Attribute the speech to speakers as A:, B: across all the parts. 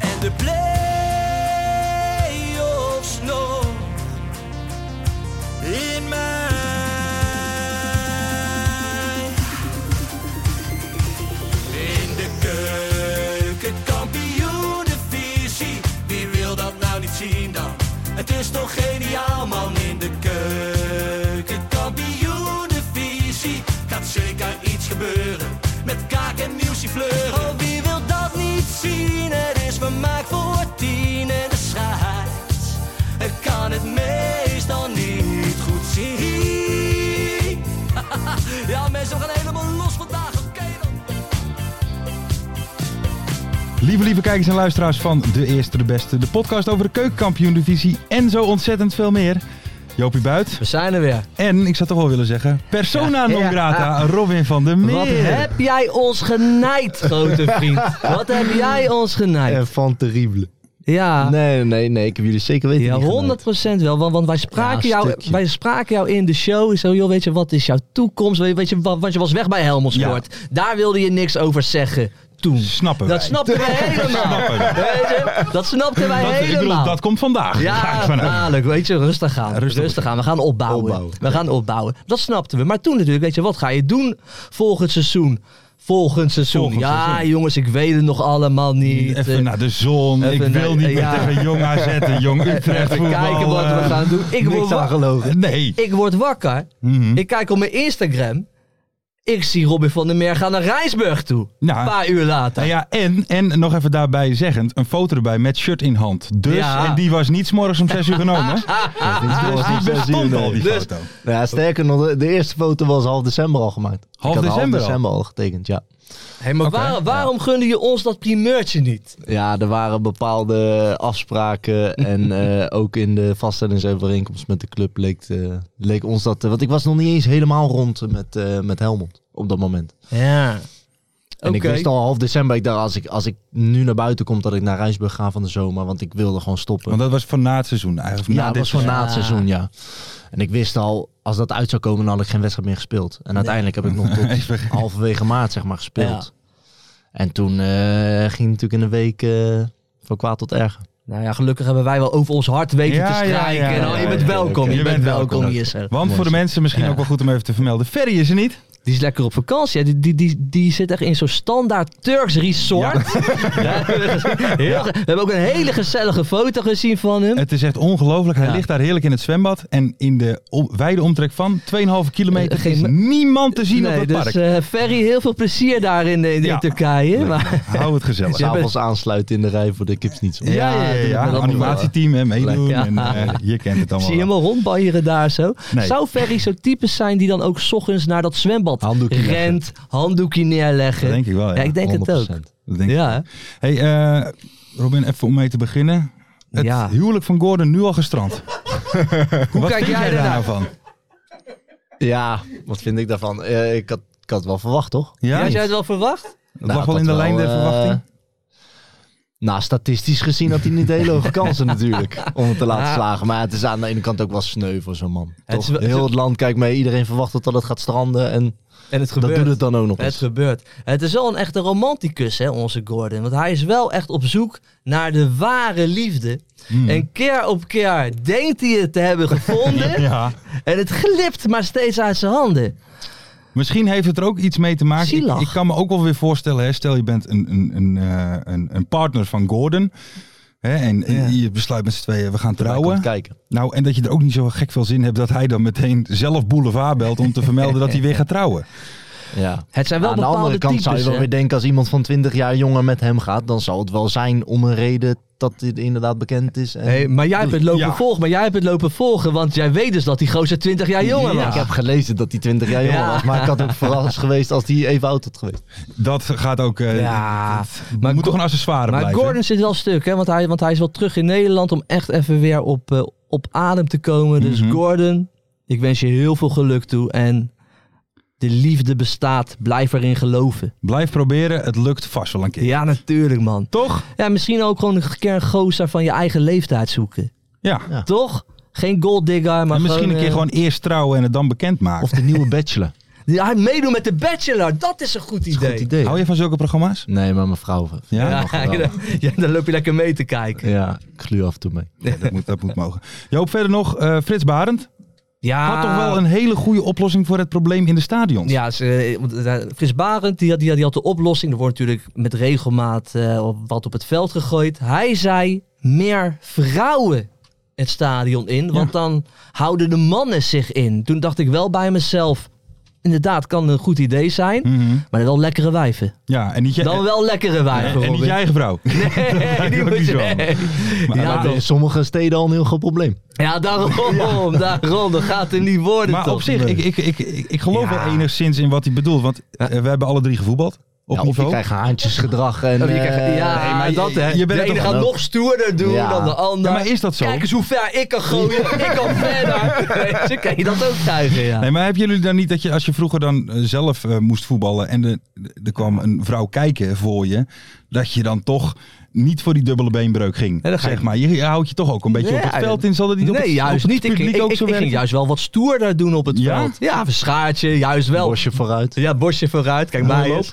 A: En de play-offs nog.
B: In mij.
A: In de keuken, kampioen de visie. Wie wil dat nou niet zien dan? Het is toch geniaal man in de keuken, kampioen de visie. Gaat zeker iets gebeuren met kaak en nieuwsje fleuren. Oh, wie wil dat niet zien? Het is vermaakt voor tien en de scheids. Ik kan het meestal niet goed zien. Ja, mensen we gaan helemaal los vandaag. Oké dan.
C: Lieve, lieve kijkers en luisteraars van De Eerste de Beste, de podcast over de keukenkampioen-divisie en zo ontzettend veel meer. Jopie Buit.
D: We zijn er weer.
C: En, ik zou toch wel willen zeggen, persona
D: Ja, ja,
C: non grata,
D: ja.
C: Robin van der Meer.
D: Wat heb jij ons genaaid, grote vriend? Wat heb jij ons
E: En
D: genaaid?
E: van terrible.
D: Ja,
E: Ah. Nee, nee, nee. Ik heb jullie zeker weten
D: ja
E: niet
D: 100 wel. Want, want wij, spraken
E: Ja,
D: jou,
E: stukje.
D: wij spraken jou in de show. Zo, joh, weet je, wat is jouw toekomst? Weet je, weet je, wa- want je was weg bij Helmond Sport. Daar wilde je niks over zeggen toen.
C: Snappen
D: Dat
C: wij.
D: snapten we helemaal.
C: Snappen we.
D: Weet je, Dat snapten wij
C: Dat, ik
D: helemaal.
C: bedoel, dat komt vandaag. Ga nou ik
D: Ja,
C: vanuit.
D: dadelijk. Weet je, rustig aan.
C: rustig.
D: Rustig, aan. We gaan opbouwen.
E: Opbouwen.
D: We gaan opbouwen. Dat snapten we. Maar toen natuurlijk, weet je, wat ga je doen volgend seizoen? Volgend seizoen.
C: Volgend
D: ja,
C: seizoen.
D: jongens, ik weet het nog allemaal niet. eh,
C: Even naar de zon. Ik
D: even
C: wil
D: naar-
C: niet
D: ja.
C: meer tegen Jong AZ en Jong Utrecht
D: Eh, Even
C: voetbal,
D: kijken wat we
C: eh,
D: gaan doen. Ik word,
E: Niks
D: wa-
E: aan gelogen.
C: Nee.
D: ik word wakker.
C: Mhm.
D: Ik kijk op mijn Instagram. Ik zie Robin van der Meer gaan naar Rijsburg toe.
C: Nou.
D: een paar uur later.
C: Nou ja, en, en nog even daarbij zeggend, een foto erbij met shirt in hand. Dus,
D: Ja.
C: en die was niet 's morgens om 6 uur genomen.
E: Ah,
C: Dus die bestond al, die
D: Dus-
C: foto.
E: Nou ja, sterker nog, de, de eerste foto was half december al gemaakt. Ik
C: Half
E: had
C: december al?
E: half december al getekend, ja.
D: Hey, maar waar- waarom gunde je ons dat primeurtje niet?
E: Ja, er waren bepaalde afspraken en eh, ook in de vaststellingsovereenkomst met de club leek, eh, leek ons dat... eh, want ik was nog niet eens helemaal rond met, eh, met Helmond op dat moment.
D: Ja.
E: En ik
D: Oké.
E: wist al half december, ik dacht als ik, als ik nu naar buiten kom dat ik naar Rijsburg ga van de zomer, want ik wilde gewoon stoppen.
C: Want dat was voor na het seizoen eigenlijk. of
E: Ja,
C: na
E: dat
C: dit
E: was voor na het
D: Ja.
E: seizoen, ja. En ik wist al, als dat uit zou komen, dan had ik geen wedstrijd meer gespeeld. En uiteindelijk heb ik nog tot halverwege maart, zeg maar, gespeeld. En toen eh, ging natuurlijk in een week eh, van kwaad tot erger.
D: Nou ja, gelukkig hebben wij wel over ons hart weten
C: Ja,
D: te
C: ja,
D: strijken.
C: ja,
D: en al,
C: ja,
D: je bent
E: ja,
D: welkom,
C: ja, ja.
D: je bent welkom hier. Sir.
C: Want voor de mensen misschien ook wel goed om even te vermelden. Ferry is er niet.
D: Die is lekker op vakantie. hè. Die, die, die, die zit echt in zo'n standaard Turks resort. Ja. Heel ge- We hebben ook een hele gezellige foto gezien van hem.
C: Het is echt ongelooflijk. Hij
D: Ja.
C: ligt daar heerlijk in het zwembad. En in de om- wijde omtrek van 2,5 kilometer
D: Eh, geen
C: is
D: me-
C: niemand te zien
D: nee,
C: op het
D: dus
C: park.
D: eh, Ferry, heel veel plezier daar in, eh, in, in
C: Ja.
D: Turkije. Maar,
C: Hou het gezellig.
D: Ja.
E: S'avonds aansluiten in de rij voor de kips niet zo.
C: Ja, ja, ja.
D: dat-
C: ja.
D: dat moet
C: Animatieteam en meedoen.
D: Ja.
C: En, eh, je kent het allemaal.
D: zie je hem
C: wel.
D: al rondbanjeren daar zo.
C: Nee.
D: Zou Ferry zo'n type zijn die dan ook 's ochtends naar dat zwembad
C: Handdoekje leggen.
D: rent, handdoekje neerleggen?
C: Dat denk ik wel, ja.
D: Ja, ik denk het ook.
E: 100%.
C: Dat denk ik.
D: Ja, hè?
C: Hey, eh, Robin, even om mee te beginnen. Het
D: Ja.
C: huwelijk van Gordon nu al gestrand. Hoe Wat
D: kijk
C: vind
D: jij
C: daar nou
D: ernaar?
C: van?
E: Ja, wat vind ik daarvan? Eh, ik, had, ik had het wel verwacht, toch?
C: Ja?
D: Had jij het
C: Het
D: wel verwacht?
C: lag
E: Nou,
C: wel
E: dat
C: in de lijn der
E: eh,
C: verwachting.
E: Nou, statistisch gezien had hij niet hele hoge kansen natuurlijk om het te laten
D: Ja.
E: slagen. Maar het is aan de ene kant ook wel sneu voor zo'n man.
D: Het is
E: Toch?
D: wel-
E: Heel het land kijkt mee, iedereen verwacht dat het gaat stranden en
D: En het
E: dat doet het dan ook nog
D: Het
E: eens.
D: gebeurt. Het is wel een echte romanticus, hè, onze Gordon. Want hij is wel echt op zoek naar de ware liefde.
E: Hmm.
D: En keer op keer denkt hij het te hebben gevonden.
C: Ja.
D: En het glipt maar steeds uit zijn handen.
C: Misschien heeft het er ook iets mee te maken. Ik,
D: Zielig.
C: ik kan me ook wel weer voorstellen, hè, stel je bent een, een, een, eh, een, een partner van Gordon. Hè, en en je besluit met z'n tweeën, we gaan trouwen.
E: Komt kijken.
C: Nou, en dat je er ook niet zo gek veel zin hebt dat hij dan meteen zelf boulevard belt om te vermelden dat hij weer gaat trouwen.
E: Ja.
D: Het zijn wel
E: Aan de
D: bepaalde
E: andere kant
D: types,
E: zou je wel
D: hè.
E: weer denken, als iemand van 20 jaar jonger met hem gaat, dan zal het wel zijn om een reden dat dit inderdaad bekend is. En
D: Hey, maar jij hebt het lopen
C: Ja.
D: volgen, maar jij hebt het lopen volgen, want jij weet dus dat die gozer 20 jaar jonger was.
E: Ik heb gelezen dat hij 20 jaar jonger
D: Ja.
E: was. Maar ik had ook verrast geweest als hij even oud had geweest.
C: Dat gaat ook... eh
D: Ja,
C: maar
D: maar
C: moet
D: Go-
C: toch een accessoire
D: Maar
C: blijven.
D: Gordon zit wel stuk, hè? Want hij, want hij is wel terug in Nederland om echt even weer op, eh, op adem te komen. Dus
C: Mhm.
D: Gordon, ik wens je heel veel geluk toe. En de liefde bestaat, blijf erin geloven.
C: Blijf proberen, het lukt vast wel een keer.
D: Ja, natuurlijk, man.
C: Toch?
D: Ja, misschien ook gewoon een keer een gozer van je eigen leeftijd zoeken.
C: Ja.
E: Ja.
D: Toch? Geen gold digger, maar
C: en misschien een keer
D: eh,
C: gewoon eerst trouwen en het dan bekend maken.
E: Of de nieuwe Bachelor.
D: Ja, hij meedoen met de Bachelor, dat is een goed idee.
E: Goed idee.
C: Hou je van zulke programma's?
E: Nee, maar mijn vrouw.
C: Ja,
D: Ja,
E: mag wel.
D: ja, ja, dan loop je lekker mee te kijken.
E: Ja, ik gluur af en toe mee.
C: Ja, dat, moet, dat moet mogen. Joop, verder nog eh, Frits Barend.
D: Ja,
C: Had toch wel een hele goede oplossing voor het probleem in de stadions.
D: Ah. Ja, ze, eh, want, eh, Frits Barend die had, die, had- die had de oplossing. Er wordt natuurlijk met regelmaat eh, op- wat op het veld gegooid. Hij zei meer vrouwen het stadion in, want dan houden de mannen zich in. Toen dacht ik wel bij mezelf, inderdaad kan een goed idee zijn,
C: Mhm.
D: maar wel lekkere wijven.
C: Ja, en niet, jij-
D: Dan wel lekkere
C: en-
D: wijven.
C: en niet je
D: Robin.
C: eigen vrouw.
D: Nee, die
C: ook
D: moet
C: niet
D: je-
C: zo.
D: nee. Ja,
E: Maar dat is in sommige steden al een heel groot probleem.
D: ja, daarom, daarom. Dat gaat er niet worden
C: Maar
D: toch?
C: op zich, ik, ik, ik, ik, ik
D: Ja.
C: geloof wel enigszins in wat hij bedoelt. Want eh, we hebben alle drie gevoetbald. Op
E: Ja, of je
C: niveau.
E: krijgt haantjesgedrag. En,
D: Oh, je krijgt-
E: eh,
D: ja,
C: nee, maar
D: dat hè.
C: je bent
D: de
C: het
D: ene
C: toch
D: gaat
E: ook.
D: nog stoerder doen
E: Ja.
D: dan de ander.
C: Ja, maar is dat zo?
D: Kijk eens hoe ver ik kan gooien. ik kan verder. Weet je, kan je dat ook krijgen, ja.
C: Nee, maar hebben jullie dan niet dat je als je vroeger dan eh, zelf eh, moest voetballen en de- de- er kwam een vrouw kijken voor je, dat je dan toch niet voor die dubbele beenbreuk ging?
D: Nee, dat ga
C: zeg
D: ik-
C: maar, je, je houdt je toch ook een beetje op
D: Ja,
C: het veld in, zal dat niet op
D: Nee,
C: het,
D: juist
C: op het
D: niet. Ik,
C: publiek
D: ging-
C: ook
D: ik-
C: zo
D: ik ging
C: werken?
D: juist wel wat stoerder doen op het
C: Ja?
D: veld. Ja, een schaartje, juist
C: Oh.
D: wel.
E: Bosje vooruit.
D: Ja, borstje vooruit. Kijk,
C: Mooie
D: mij
C: loop?
D: eens.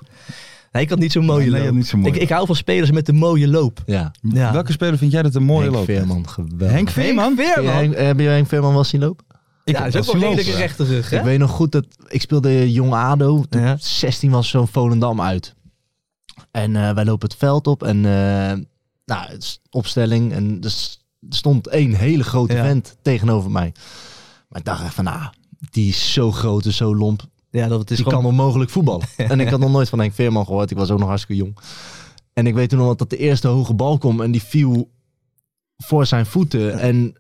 D: Nee, ik had niet zo'n mooie
C: Nee, nee, je
D: loop.
C: had niet zo'n mooie
D: ik, ik hou van spelers met een mooie loop.
E: Ja.
D: Ja.
C: Welke speler vind jij dat een mooie
E: Henk
C: loop?
E: Veerman, geweldig.
C: Henk Veerman?
D: Henk Veerman.
E: Heb je Henk- Heb je Henk Veerman wel zien lopen?
C: Ik
D: ja,
C: heb
D: dat is
C: wel
D: ook wel
C: zien
D: redelijk een
C: lopen.
D: rechte rug, hè?
E: Ik weet nog goed dat ik speelde jong ADO. Toen
D: Ja.
E: ik 16 was zo'n Volendam uit. En eh, wij lopen het veld op en eh, nou, het is opstelling en er s- er stond één hele grote
D: Ja.
E: vent tegenover mij. Maar ik dacht echt van, nou, die is zo groot en zo lomp.
D: Ja, dat het is
E: die
D: gewoon...
E: kan onmogelijk voetballen. en ik had nog nooit van Henk Veerman gehoord. Ik was ook nog hartstikke jong. En ik weet toen nog dat de eerste hoge bal kwam en die viel voor zijn voeten. En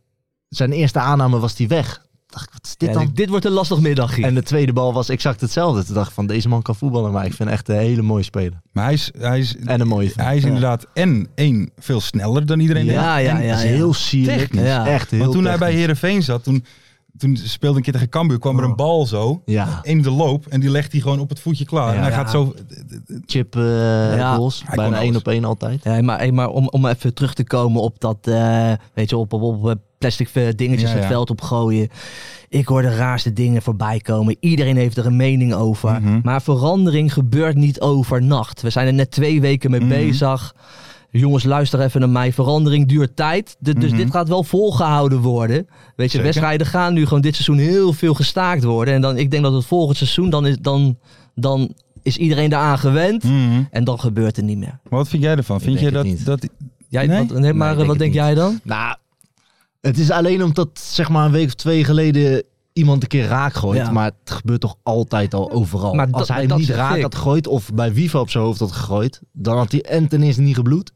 E: zijn eerste aanname was die weg. Ik Dacht, wat is dit
D: Ja,
E: dan?
D: dit wordt een lastig middagje.
E: En de tweede bal was exact hetzelfde. Toen dacht ik van, deze man kan voetballen, maar ik vind hem echt een hele mooie speler.
C: Maar hij is, hij is,
E: En een mooie fan.
C: hij is inderdaad en één veel sneller dan iedereen. denkt.
D: ja, ja,
E: En
D: ja,
E: is
D: ja.
E: heel sierlijk.
C: Technisch.
E: Ja. Echt heel
C: Want toen hij bij
E: technisch.
C: Herenveen zat, toen, toen speelde een keer tegen Cambuur, kwam er
D: Oh.
C: een bal zo
E: Ja,
C: in de loop en die legt hij gewoon op het voetje klaar.
E: Ja.
C: en hij gaat zo
E: chip eh
D: Ja.
E: goals.
C: Hij kon
E: Bijna één
C: alles.
E: op één altijd.
D: Ja, Eh, maar, hey, maar om, om even terug te komen op dat, eh, weet je, op, op, op, eh, plastic eh, dingetjes
C: Ja,
D: het
C: ja.
D: veld opgooien. Ik hoor de raarste dingen voorbij komen. Iedereen heeft er een mening over.
C: Mhm.
D: Maar verandering gebeurt niet overnacht. We zijn er net twee weken mee
C: Mhm.
D: bezig. Jongens, luister even naar mij. Verandering duurt tijd. D- Dus
C: Mhm.
D: dit gaat wel volgehouden worden. Weet je,
C: Zeker.
D: wedstrijden gaan nu gewoon dit seizoen heel veel gestaakt worden. En dan, ik denk dat het volgend seizoen, dan is, dan, dan is iedereen daaraan gewend.
C: Mhm.
D: En dan gebeurt het niet meer.
C: Maar wat vind jij ervan? Vind je
E: denk
C: dat,
E: het niet.
C: dat...
D: Jij,
C: Nee?
D: wat, nee, maar
E: ik denk
D: wat denk
E: het niet.
D: jij dan?
E: Nou, het is alleen omdat zeg maar een week of twee geleden iemand een keer raak gooit.
D: Ja.
E: Maar het gebeurt toch altijd al overal.
D: Maar dat-
E: Als hij
D: maar
E: hem
D: dat
E: niet
D: zeg
E: raak
D: ik.
E: had gegooid of bij Wiever op zijn hoofd had gegooid, dan had hij en ten eerste niet gebloed.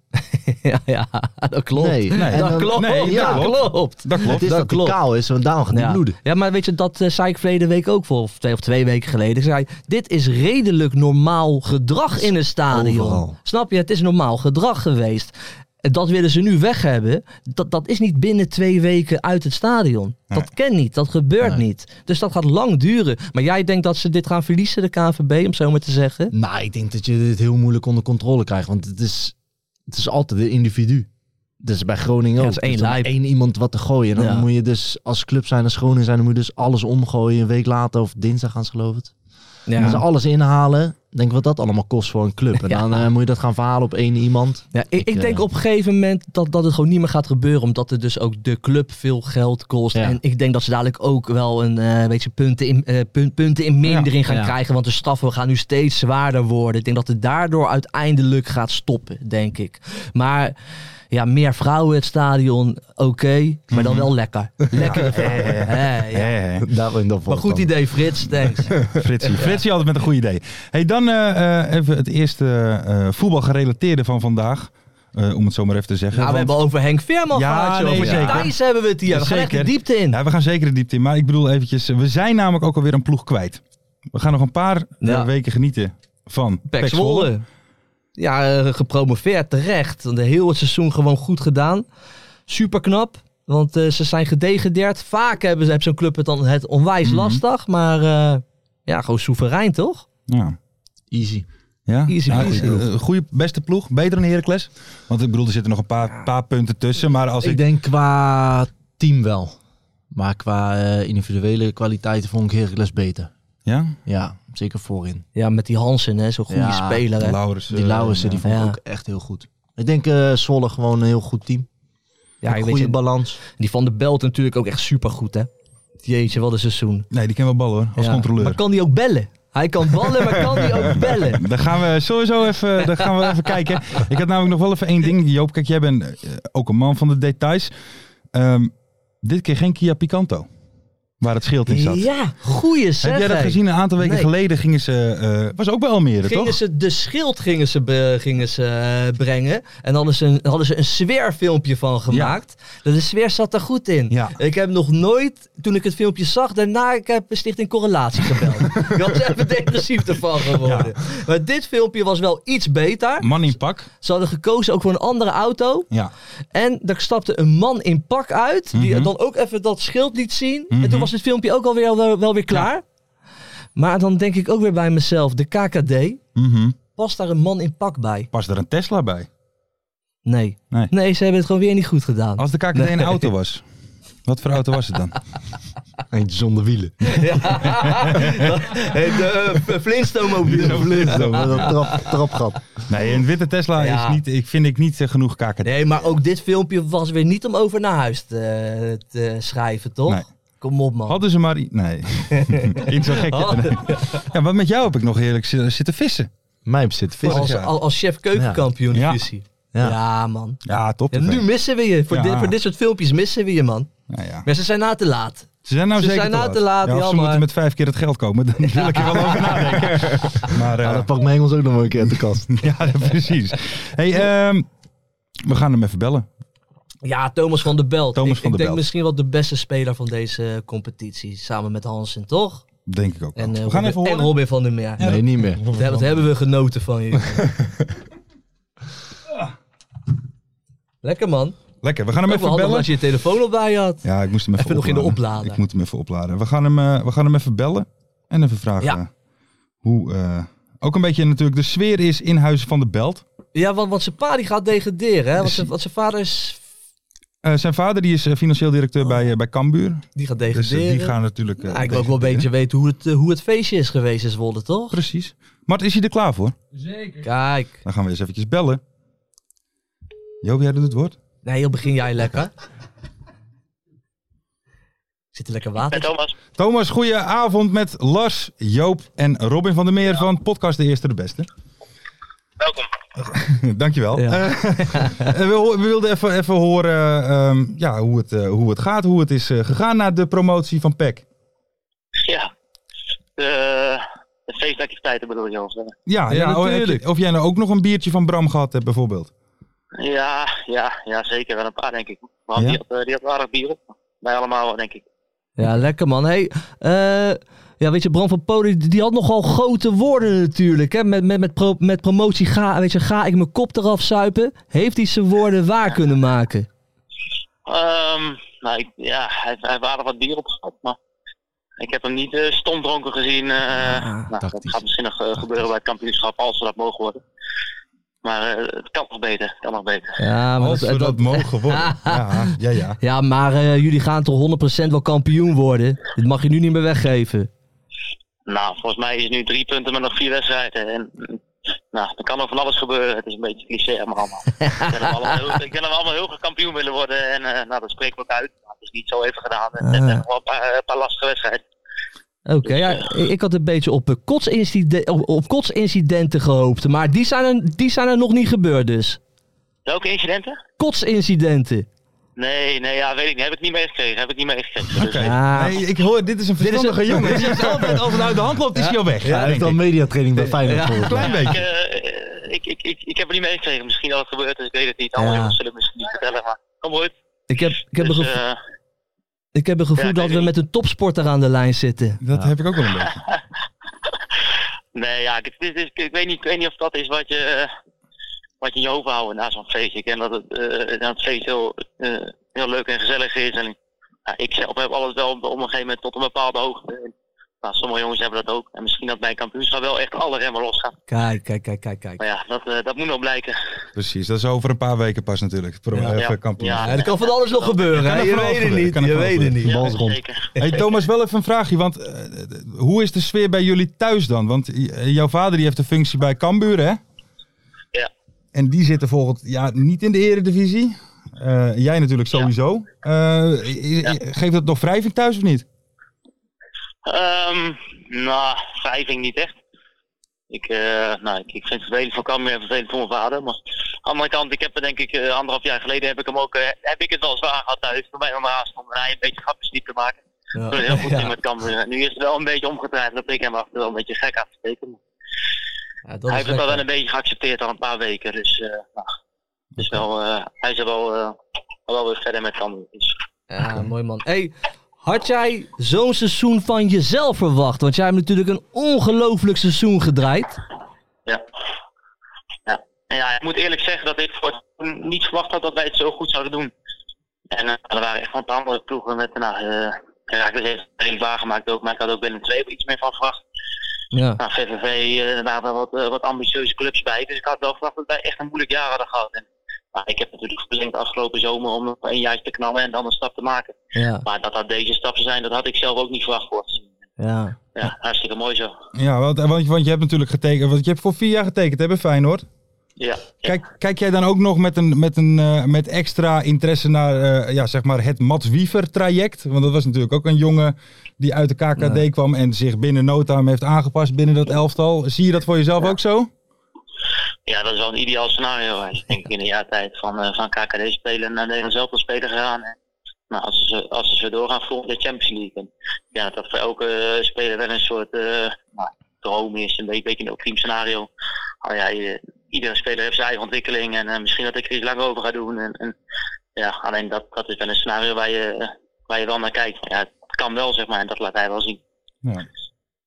D: Ja, ja, dat klopt.
E: Nee,
C: Nee.
E: En
D: Dat
E: dan-
D: klopt,
C: nee,
D: ja,
C: dat
D: dat klopt.
C: Dat klopt.
E: Het is
D: dat
E: dat, hij
D: klopt.
E: kaal is, want daarom gaat hij
D: Ja.
E: bloeden.
D: ja, maar weet je, dat eh, zei ik verleden week ook voor, of twee, of twee weken geleden. Ik zei, dit is redelijk normaal gedrag in een stadion.
E: Overal.
D: Snap je, het is normaal gedrag geweest. En Dat willen ze nu weg hebben. Dat, dat is niet binnen twee weken uit het stadion. Dat ken niet, dat gebeurt
E: Nee.
D: niet. Dus dat gaat lang duren. Maar jij denkt dat ze dit gaan verliezen, de KNVB, om zo maar te zeggen?
E: Nou, ik denk dat je dit heel moeilijk onder controle krijgt. Want het is, het is altijd een individu. Dus bij Groningen
D: Ja,
E: ook.
D: het is één
E: Dus dan
D: lijp.
E: één iemand wat te gooien. En dan
D: Ja.
E: moet je dus als club zijn, als Groningen zijn, dan moet je dus alles omgooien. Een week later of dinsdag gaan ze geloof ik.
D: Ja.
E: Als ze alles inhalen, denk ik wat dat allemaal kost voor een club. En
D: Ja.
E: dan eh, moet je dat gaan verhalen op één iemand.
D: Ja, ik, ik
E: eh,
D: denk op een gegeven moment dat, dat het gewoon niet meer gaat gebeuren. Omdat het dus ook de club veel geld kost.
E: Ja.
D: En ik denk dat ze dadelijk ook wel een eh, weet je, punten, in, eh, punt- punten in mindering gaan
E: Ja.
D: krijgen. Want de straffen gaan nu steeds zwaarder worden. Ik denk dat het daardoor uiteindelijk gaat stoppen, denk ik. Maar ja, meer vrouwen het stadion, oké. maar dan wel lekker. Lekker. vrouwen. Hè, ja.
C: Eh,
E: Daar ben ik dan voor
D: Maar goed
E: dan.
D: idee, Frits. Thanks.
C: Fritsie. Fritsie altijd met een goed idee. Hey, dan eh, eh, even het eerste eh, voetbalgerelateerde van vandaag. eh, om het zo maar even te zeggen.
D: Nou, we
C: Want-
D: hebben over Henk Veerman
C: Ja,
D: gehad, joh.
C: nee,
D: Over
C: zeker.
D: Thijs hebben we het hier. We gaan echt de
C: Zeker.
D: diepte in.
C: Ja, we gaan zeker de diepte in. Maar ik bedoel eventjes, we zijn namelijk ook alweer een ploeg kwijt. We gaan nog een paar eh,
D: Ja.
C: weken genieten van
D: Pek Zwolle. Ja, eh, gepromoveerd terecht. Want heel het seizoen gewoon goed gedaan. Super knap. Want eh, ze zijn gedegradeerd. Vaak hebben ze, heeft zo'n club het dan het onwijs
C: Mhm.
D: lastig. Maar eh, ja, gewoon soeverein toch?
C: Ja.
E: Easy.
C: Ja,
D: Easy peasy.
C: eh, goede, beste ploeg. Beter dan Heracles. Want ik bedoel, er zitten nog een paar, paar punten tussen. Maar als
E: ik,
C: ik...
E: denk qua team wel. Maar qua eh, individuele kwaliteiten vond ik Heracles beter.
C: Ja?
E: Ja, zeker voorin.
D: Ja, met die Hansen, hè, zo'n goede
E: Ja,
D: speler. Hè.
C: Laurens.
E: Die
C: eh,
E: Lauwersen,
C: ja.
E: die vond ik
D: Ja.
E: ook echt heel goed. Ik denk eh Zwolle gewoon een heel goed team.
D: Ja,
E: een
D: weet
E: goede
D: je,
E: balans.
D: die van de Belt natuurlijk ook echt super goed, hè? Jeetje, wat een seizoen.
C: Nee, die ken wel ballen hoor, als
D: Ja. Maar
C: controleur.
D: kan die ook bellen? Hij kan ballen, maar kan die ook bellen?
C: Daar gaan we sowieso even, daar gaan we even kijken. Ik had namelijk nog wel even één ding. Joop, kijk, jij bent eh, ook een man van de details. Ehm, dit keer geen Kia Picanto. Waar het schild in zat.
D: Ja, goeie zeg.
C: Heb jij dat
D: hé.
C: gezien? Een aantal weken
D: Nee.
C: geleden gingen ze... eh, was ook bij Almere,
D: Gingen
C: toch?
D: ze de schild gingen ze, be- gingen ze eh, brengen. En hadden ze een, hadden ze een sfeerfilmpje van gemaakt. Dat De sfeer zat er goed in.
C: Ja.
D: Ik heb nog nooit, toen ik het filmpje zag, daarna ik heb Stichting Correlatie gebeld. Ik had even depressief ervan geworden. Maar dit filmpje was wel iets beter.
C: Man in pak.
D: Ze hadden gekozen ook voor een andere auto.
C: Ja.
D: En daar stapte een man in pak uit. Die
C: Mhm.
D: dan ook even dat schild liet zien. En
C: Mhm.
D: toen was het filmpje ook alweer wel, wel weer klaar. Maar dan denk ik ook weer bij mezelf, de KKD
C: Mhm.
D: past daar een man in pak bij?
C: Pas er een Tesla bij?
D: Nee.
C: Nee. Oh.
D: ze hebben het gewoon weer niet goed gedaan.
C: Als de KKD een auto was, wat voor auto was het dan?
E: Eentje zonder wielen.
C: eh,
D: de Flintstone-mobiel.
E: dat trap, trapgat.
C: Nee, een witte Tesla
D: Ja.
C: is niet, ik vind ik niet eh, genoeg KKD.
D: Nee, maar ook dit filmpje was weer niet om over naar huis te, te schrijven, toch?
C: Nee.
D: Kom op, man.
C: Hadden ze maar... i- Nee. Iets zo gek.
D: Hadden-
C: Ja, want met jou heb ik nog heerlijk zi- zitten vissen.
E: Mij bezit vissen.
D: als,
C: jaar.
D: al- als chef keukenkampioen
C: Ja.
D: divisie. Ja.
E: Ja.
D: man.
C: Ja, top.
D: Ja, nu missen we je. Voor,
C: Ja.
D: dit, voor dit soort filmpjes missen we je, man.
C: Nou ja.
D: Maar ze zijn na te laat.
C: Ze zijn nou
D: Ze
C: zeker
D: zijn nou te laat,
C: Ja, als ze
D: jammer.
C: moeten met vijf keer het geld komen, dan wil ik er wel over nadenken. Maar, eh,
E: Ja, dat pakt Mengels ook nog wel een keer uit de kast.
C: ja, precies. Hey, ehm, we gaan hem even bellen.
D: Ja, Thomas van der Belt.
C: Thomas
D: ik
C: van der
D: ik denk
C: Belt.
D: misschien wel de beste speler van deze competitie. Samen met Hansen, toch?
C: Denk ik ook wel.
D: En, eh,
C: we gaan
D: Robin-
C: even
D: en
C: horen.
D: Robin van der Meer.
E: Nee, niet meer.
D: Dat, dat hebben we genoten van je. Lekker man.
C: Lekker, we gaan hem
D: Ook wel handig
C: even bellen.
D: als je je telefoon al bij je had.
C: Ja, ik moest hem even,
D: Even nog in de
C: opladen.
D: oplader.
C: Ik moet hem even opladen. We gaan hem, eh, we gaan hem even bellen en even vragen
D: Ja.
C: hoe eh, ook een beetje natuurlijk de sfeer is in Huizen van de Belt.
D: Ja, want, want zijn pa die gaat degraderen. Hè? Want, zijn, want zijn vader is...
C: Eh, zijn vader die is eh, financieel directeur bij, eh, bij Cambuur.
D: Die gaat
C: Dus
D: degraderen.
C: eh, die gaan natuurlijk... eh,
D: Ja, ik wil ook wel een
C: degraderen.
D: beetje weten hoe het, eh, hoe het feestje is geweest in Zwolle, toch?
C: Precies. Mart, is hij er klaar voor?
D: Kijk.
C: Dan gaan we eens eventjes bellen. Joop, jij doet het woord?
D: Nee, heel begin jij lekker. Zit er lekker water?
F: Thomas.
C: Thomas, goeie avond met Lars, Joop en Robin van der Meer van podcast De Eerste de Beste.
F: Welkom.
C: Dankjewel.
D: Ja.
C: Eh, we, ho- we wilden even, even horen ehm, ja, hoe, het, eh, hoe het gaat, hoe het is eh, gegaan na de promotie van PEC.
F: Ja. De, de feestactiviteiten bedoel je eh? ons. hè?
C: Ja, ja, oh, heb je- of jij nou ook nog een biertje van Bram gehad hebt bijvoorbeeld.
F: Ja, ja, ja, zeker. Wel een paar, denk ik. Maar
C: Ja?
F: die, had, eh, die had wel aardig bier op. Wij allemaal, wel, denk ik.
D: Ja, lekker man. Hey, eh, ja, weet je, Bram van Polen, die die had nogal grote woorden natuurlijk. Hè? Met, met, met, pro- met promotie ga, weet je, ga ik mijn kop eraf zuipen. Heeft hij zijn woorden waar kunnen maken?
F: Ehm, nou, ik, ja, hij, hij heeft aardig wat bier op gehad, maar ik heb hem niet eh stom dronken gezien. eh, nou, dat
E: tactisch.
F: gaat misschien nog eh, gebeuren bij het kampioenschap, als we dat mogen worden. Maar eh, het kan nog beter, het kan nog beter.
D: Ja, maar
C: Als we dat, mogen worden. ja, ja, ja.
D: ja, maar eh, jullie gaan toch 100% wel kampioen worden? Dit mag je nu niet meer weggeven.
F: Nou, volgens mij is het nu drie punten met nog vier wedstrijden. En, mm, nou, er kan nog van alles gebeuren. Het is een beetje cliché, maar allemaal. ik denk dat we allemaal heel- ik denk dat we allemaal heel graag kampioen willen worden. En eh, nou, dat spreken we ook uit. Maar het is niet zo even gedaan. En, en,
D: Ah.
F: nog wel een paar, eh, een paar lastige wedstrijden.
D: Oké, ja, ik ik had een beetje op, eh, kotsincide- op, op kotsincidenten gehoopt. Maar die zijn, er, die zijn er nog niet gebeurd dus.
F: Welke incidenten?
D: Kotsincidenten.
F: Nee, nee, ja, weet ik niet. Heb ik niet meegekregen. Heb ik niet meegekregen. Dus,
C: Oké.
D: Ja.
C: Nee, ik hoor, dit is een
D: is een-
C: verstandige jongen. Die is altijd, als het uit de hand loopt, is hij al weg.
E: Ja, hij
C: denk
E: heeft al
C: ik.
E: mediatraining bij Feyenoord
D: Ja.
E: volgens mij.
C: Klein
F: ik,
C: beetje.
F: eh, ik, ik, ik, ik heb het niet meegekregen. Misschien dat het gebeurd is. Ik weet het niet. Andere
D: Ja.
F: jongens zullen het misschien niet vertellen. Maar kom goed.
D: Ik heb, ik heb,
F: Dus,
D: een, gevo-
F: eh,
D: ik heb een gevoel
F: ja, ik
D: dat
F: weet
D: we
F: het
D: met een topsporter aan de lijn zitten.
C: Dat heb ik ook wel een beetje.
F: nee, ja, ik, het is- het is- ik, weet niet, ik weet niet of dat is wat je, eh, wat je in je hoofd houdt na zo'n feest. Ik ken dat het, eh, dat het feest heel, eh, heel leuk en gezellig is. En, ja, ik zelf heb alles wel op een gegeven moment tot een bepaalde hoogte. En, nou, sommige jongens hebben dat ook. En misschien dat bij een kampioenschap wel echt alle remmen losgaan.
D: Kijk, kijk, kijk, kijk, kijk.
F: Maar ja, dat, eh, dat moet nog blijken.
C: Precies, dat is over een paar weken pas natuurlijk. Pro,
D: Ja.
C: eh,
F: Ja.
C: kampioen.
F: Ja.
D: Ja, er kan van alles nog gebeuren.
C: Kan
D: hè?
C: er
D: Je
C: van alles
D: weet het
C: gebeuren,
D: niet.
C: kan er
D: Je
C: van alles
D: weet het niet.
F: Ja,
E: Bals rond.
F: Zeker.
C: Hey Thomas, wel even een vraagje. Want eh, hoe is de sfeer bij jullie thuis dan? Want eh, jouw vader die heeft een functie bij Cambuur, hè?
F: Ja.
C: En die zitten volgend jaar niet in de eredivisie. Eh, jij natuurlijk sowieso. Eh, i- i- Geeft dat nog wrijving thuis of niet?
F: Ehm, nou, wrijving niet echt. Ik, eh, nou, ik, ik vind het vervelend voor Cambuur en vervelend voor mijn vader. Maar aan de andere kant, ik heb er denk ik eh, anderhalf jaar geleden heb ik hem ook, eh, heb ik het wel zwaar gehad thuis. Toen mij maar stond en hij een beetje grapjes liep te maken. Toen was heel goed ging met Cambuur. Nu is het wel een beetje omgedraaid dat ik hem achter wel een beetje gek aan te steken. Maar
D: Ja, dat
F: Hij
D: is
F: heeft het al
D: lekker.
F: wel een beetje geaccepteerd al een paar weken. Dus, eh, nou, dus wel, eh, hij is er wel, eh, wel weer verder met Cambuur. Dus,
D: Ja, mooi man. Hey, had jij zo'n seizoen van jezelf verwacht? Want jij hebt natuurlijk een ongelooflijk seizoen gedraaid.
F: Ja. ja. En ja, ik moet eerlijk zeggen dat ik voor het seizoen niet verwacht had dat wij het zo goed zouden doen. En eh, er waren echt wel een paar andere ploegen met, nou, eh Herakles heeft het redelijk waargemaakt ook, maar ik had ook binnen twee iets meer van verwacht.
D: Ja.
F: Nou, VVV, eh, er waren wel wat, eh, wat ambitieuze clubs bij, dus ik had wel verwacht dat wij echt een moeilijk jaar hadden gehad. En, maar ik heb natuurlijk geblink afgelopen zomer om nog een jaar te knallen en dan een stap te maken.
D: Ja,
F: Maar dat dat deze stap zou zijn, dat had ik zelf ook niet verwacht. Hoor.
D: ja.
F: Ja, hartstikke mooi zo.
C: Ja, want, want, want je hebt natuurlijk getekend. Want je hebt voor vier jaar getekend, hè, bij Feyenoord?
F: Ja, ja.
C: Kijk, kijk jij dan ook nog met, een, met, een, eh, met extra interesse naar eh, ja, zeg maar het Mats Wiever traject? Want dat was natuurlijk ook een jongen die uit de KKD
D: Ja.
C: kwam en zich binnen no time heeft aangepast binnen dat elftal. Zie je dat voor jezelf ook zo?
F: Ja, dat is wel een ideaal scenario. Hij is denk ik in een jaar tijd van, eh, van KKD spelen naar Nederland zelf spelen gegaan. En, nou, als ze, als ze doorgaan voor de Champions League. En, ja, dat dat voor elke eh, speler wel een soort eh, nou, droom is, een beetje, beetje een ultiem scenario. Oh, ja, je- iedere speler heeft zijn eigen ontwikkeling en eh, misschien dat ik er iets langer over ga doen. En, en, ja, alleen dat, dat is wel een scenario waar je, eh, waar je wel naar kijkt. Maar Ja, het kan wel, zeg maar, en dat laat hij wel zien.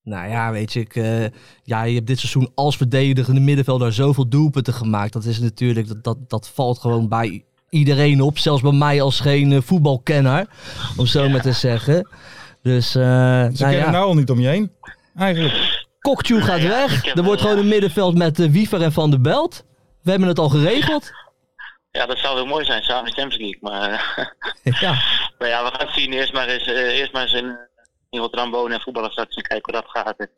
D: Nou ja, weet je, ik, eh, ja, je hebt dit seizoen als verdedigende middenvelder zoveel doelpunten gemaakt. Dat is natuurlijk, dat, dat, dat valt gewoon bij iedereen op. Zelfs bij mij als geen eh, voetbalkenner, om zo maar te zeggen. Dus, eh nou
C: Ze kennen
D: ja,
C: nou al niet om je heen. Eigenlijk.
D: Kokju gaat
F: Ja, ik
D: weg.
F: heb
D: Er wordt
F: wel,
D: gewoon een middenveld met eh, Wiever en Van der Belt. We hebben het al geregeld.
F: Ja, dat zou heel mooi zijn, samen de Champions League. Maar eh,
D: Ja.
F: Nou ja, we gaan het zien. Eerst maar eens, eh, eerst maar eens in, in Rotterdam wonen en voetballen straks en kijken hoe dat gaat. En,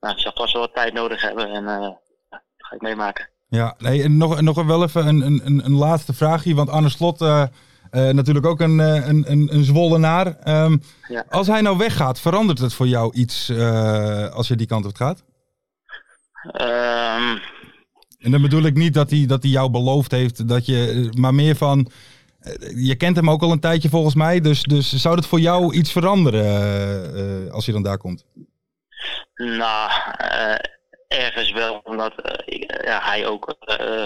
F: nou, ik zal vast wel wat tijd nodig hebben en eh, dat ga ik meemaken.
C: Ja, nee, en nog, nog wel even een, een, een- een laatste vraagje. Want Arne Slot, eh, eh, natuurlijk ook een, eh, een, een, een zwollenaar. Ehm,
F: Ja.
C: Als hij nou weggaat, verandert het voor jou iets eh, als je die kant op gaat?
F: Ehm,
C: En dan bedoel ik niet dat hij, dat hij jou beloofd heeft, dat je, maar meer van. eh, Je kent hem ook al een tijdje volgens mij, dus, dus zou dat voor jou iets veranderen eh, eh, als je dan daar komt?
F: nou, eh, ergens wel, omdat eh, ik- ja, hij ook eh,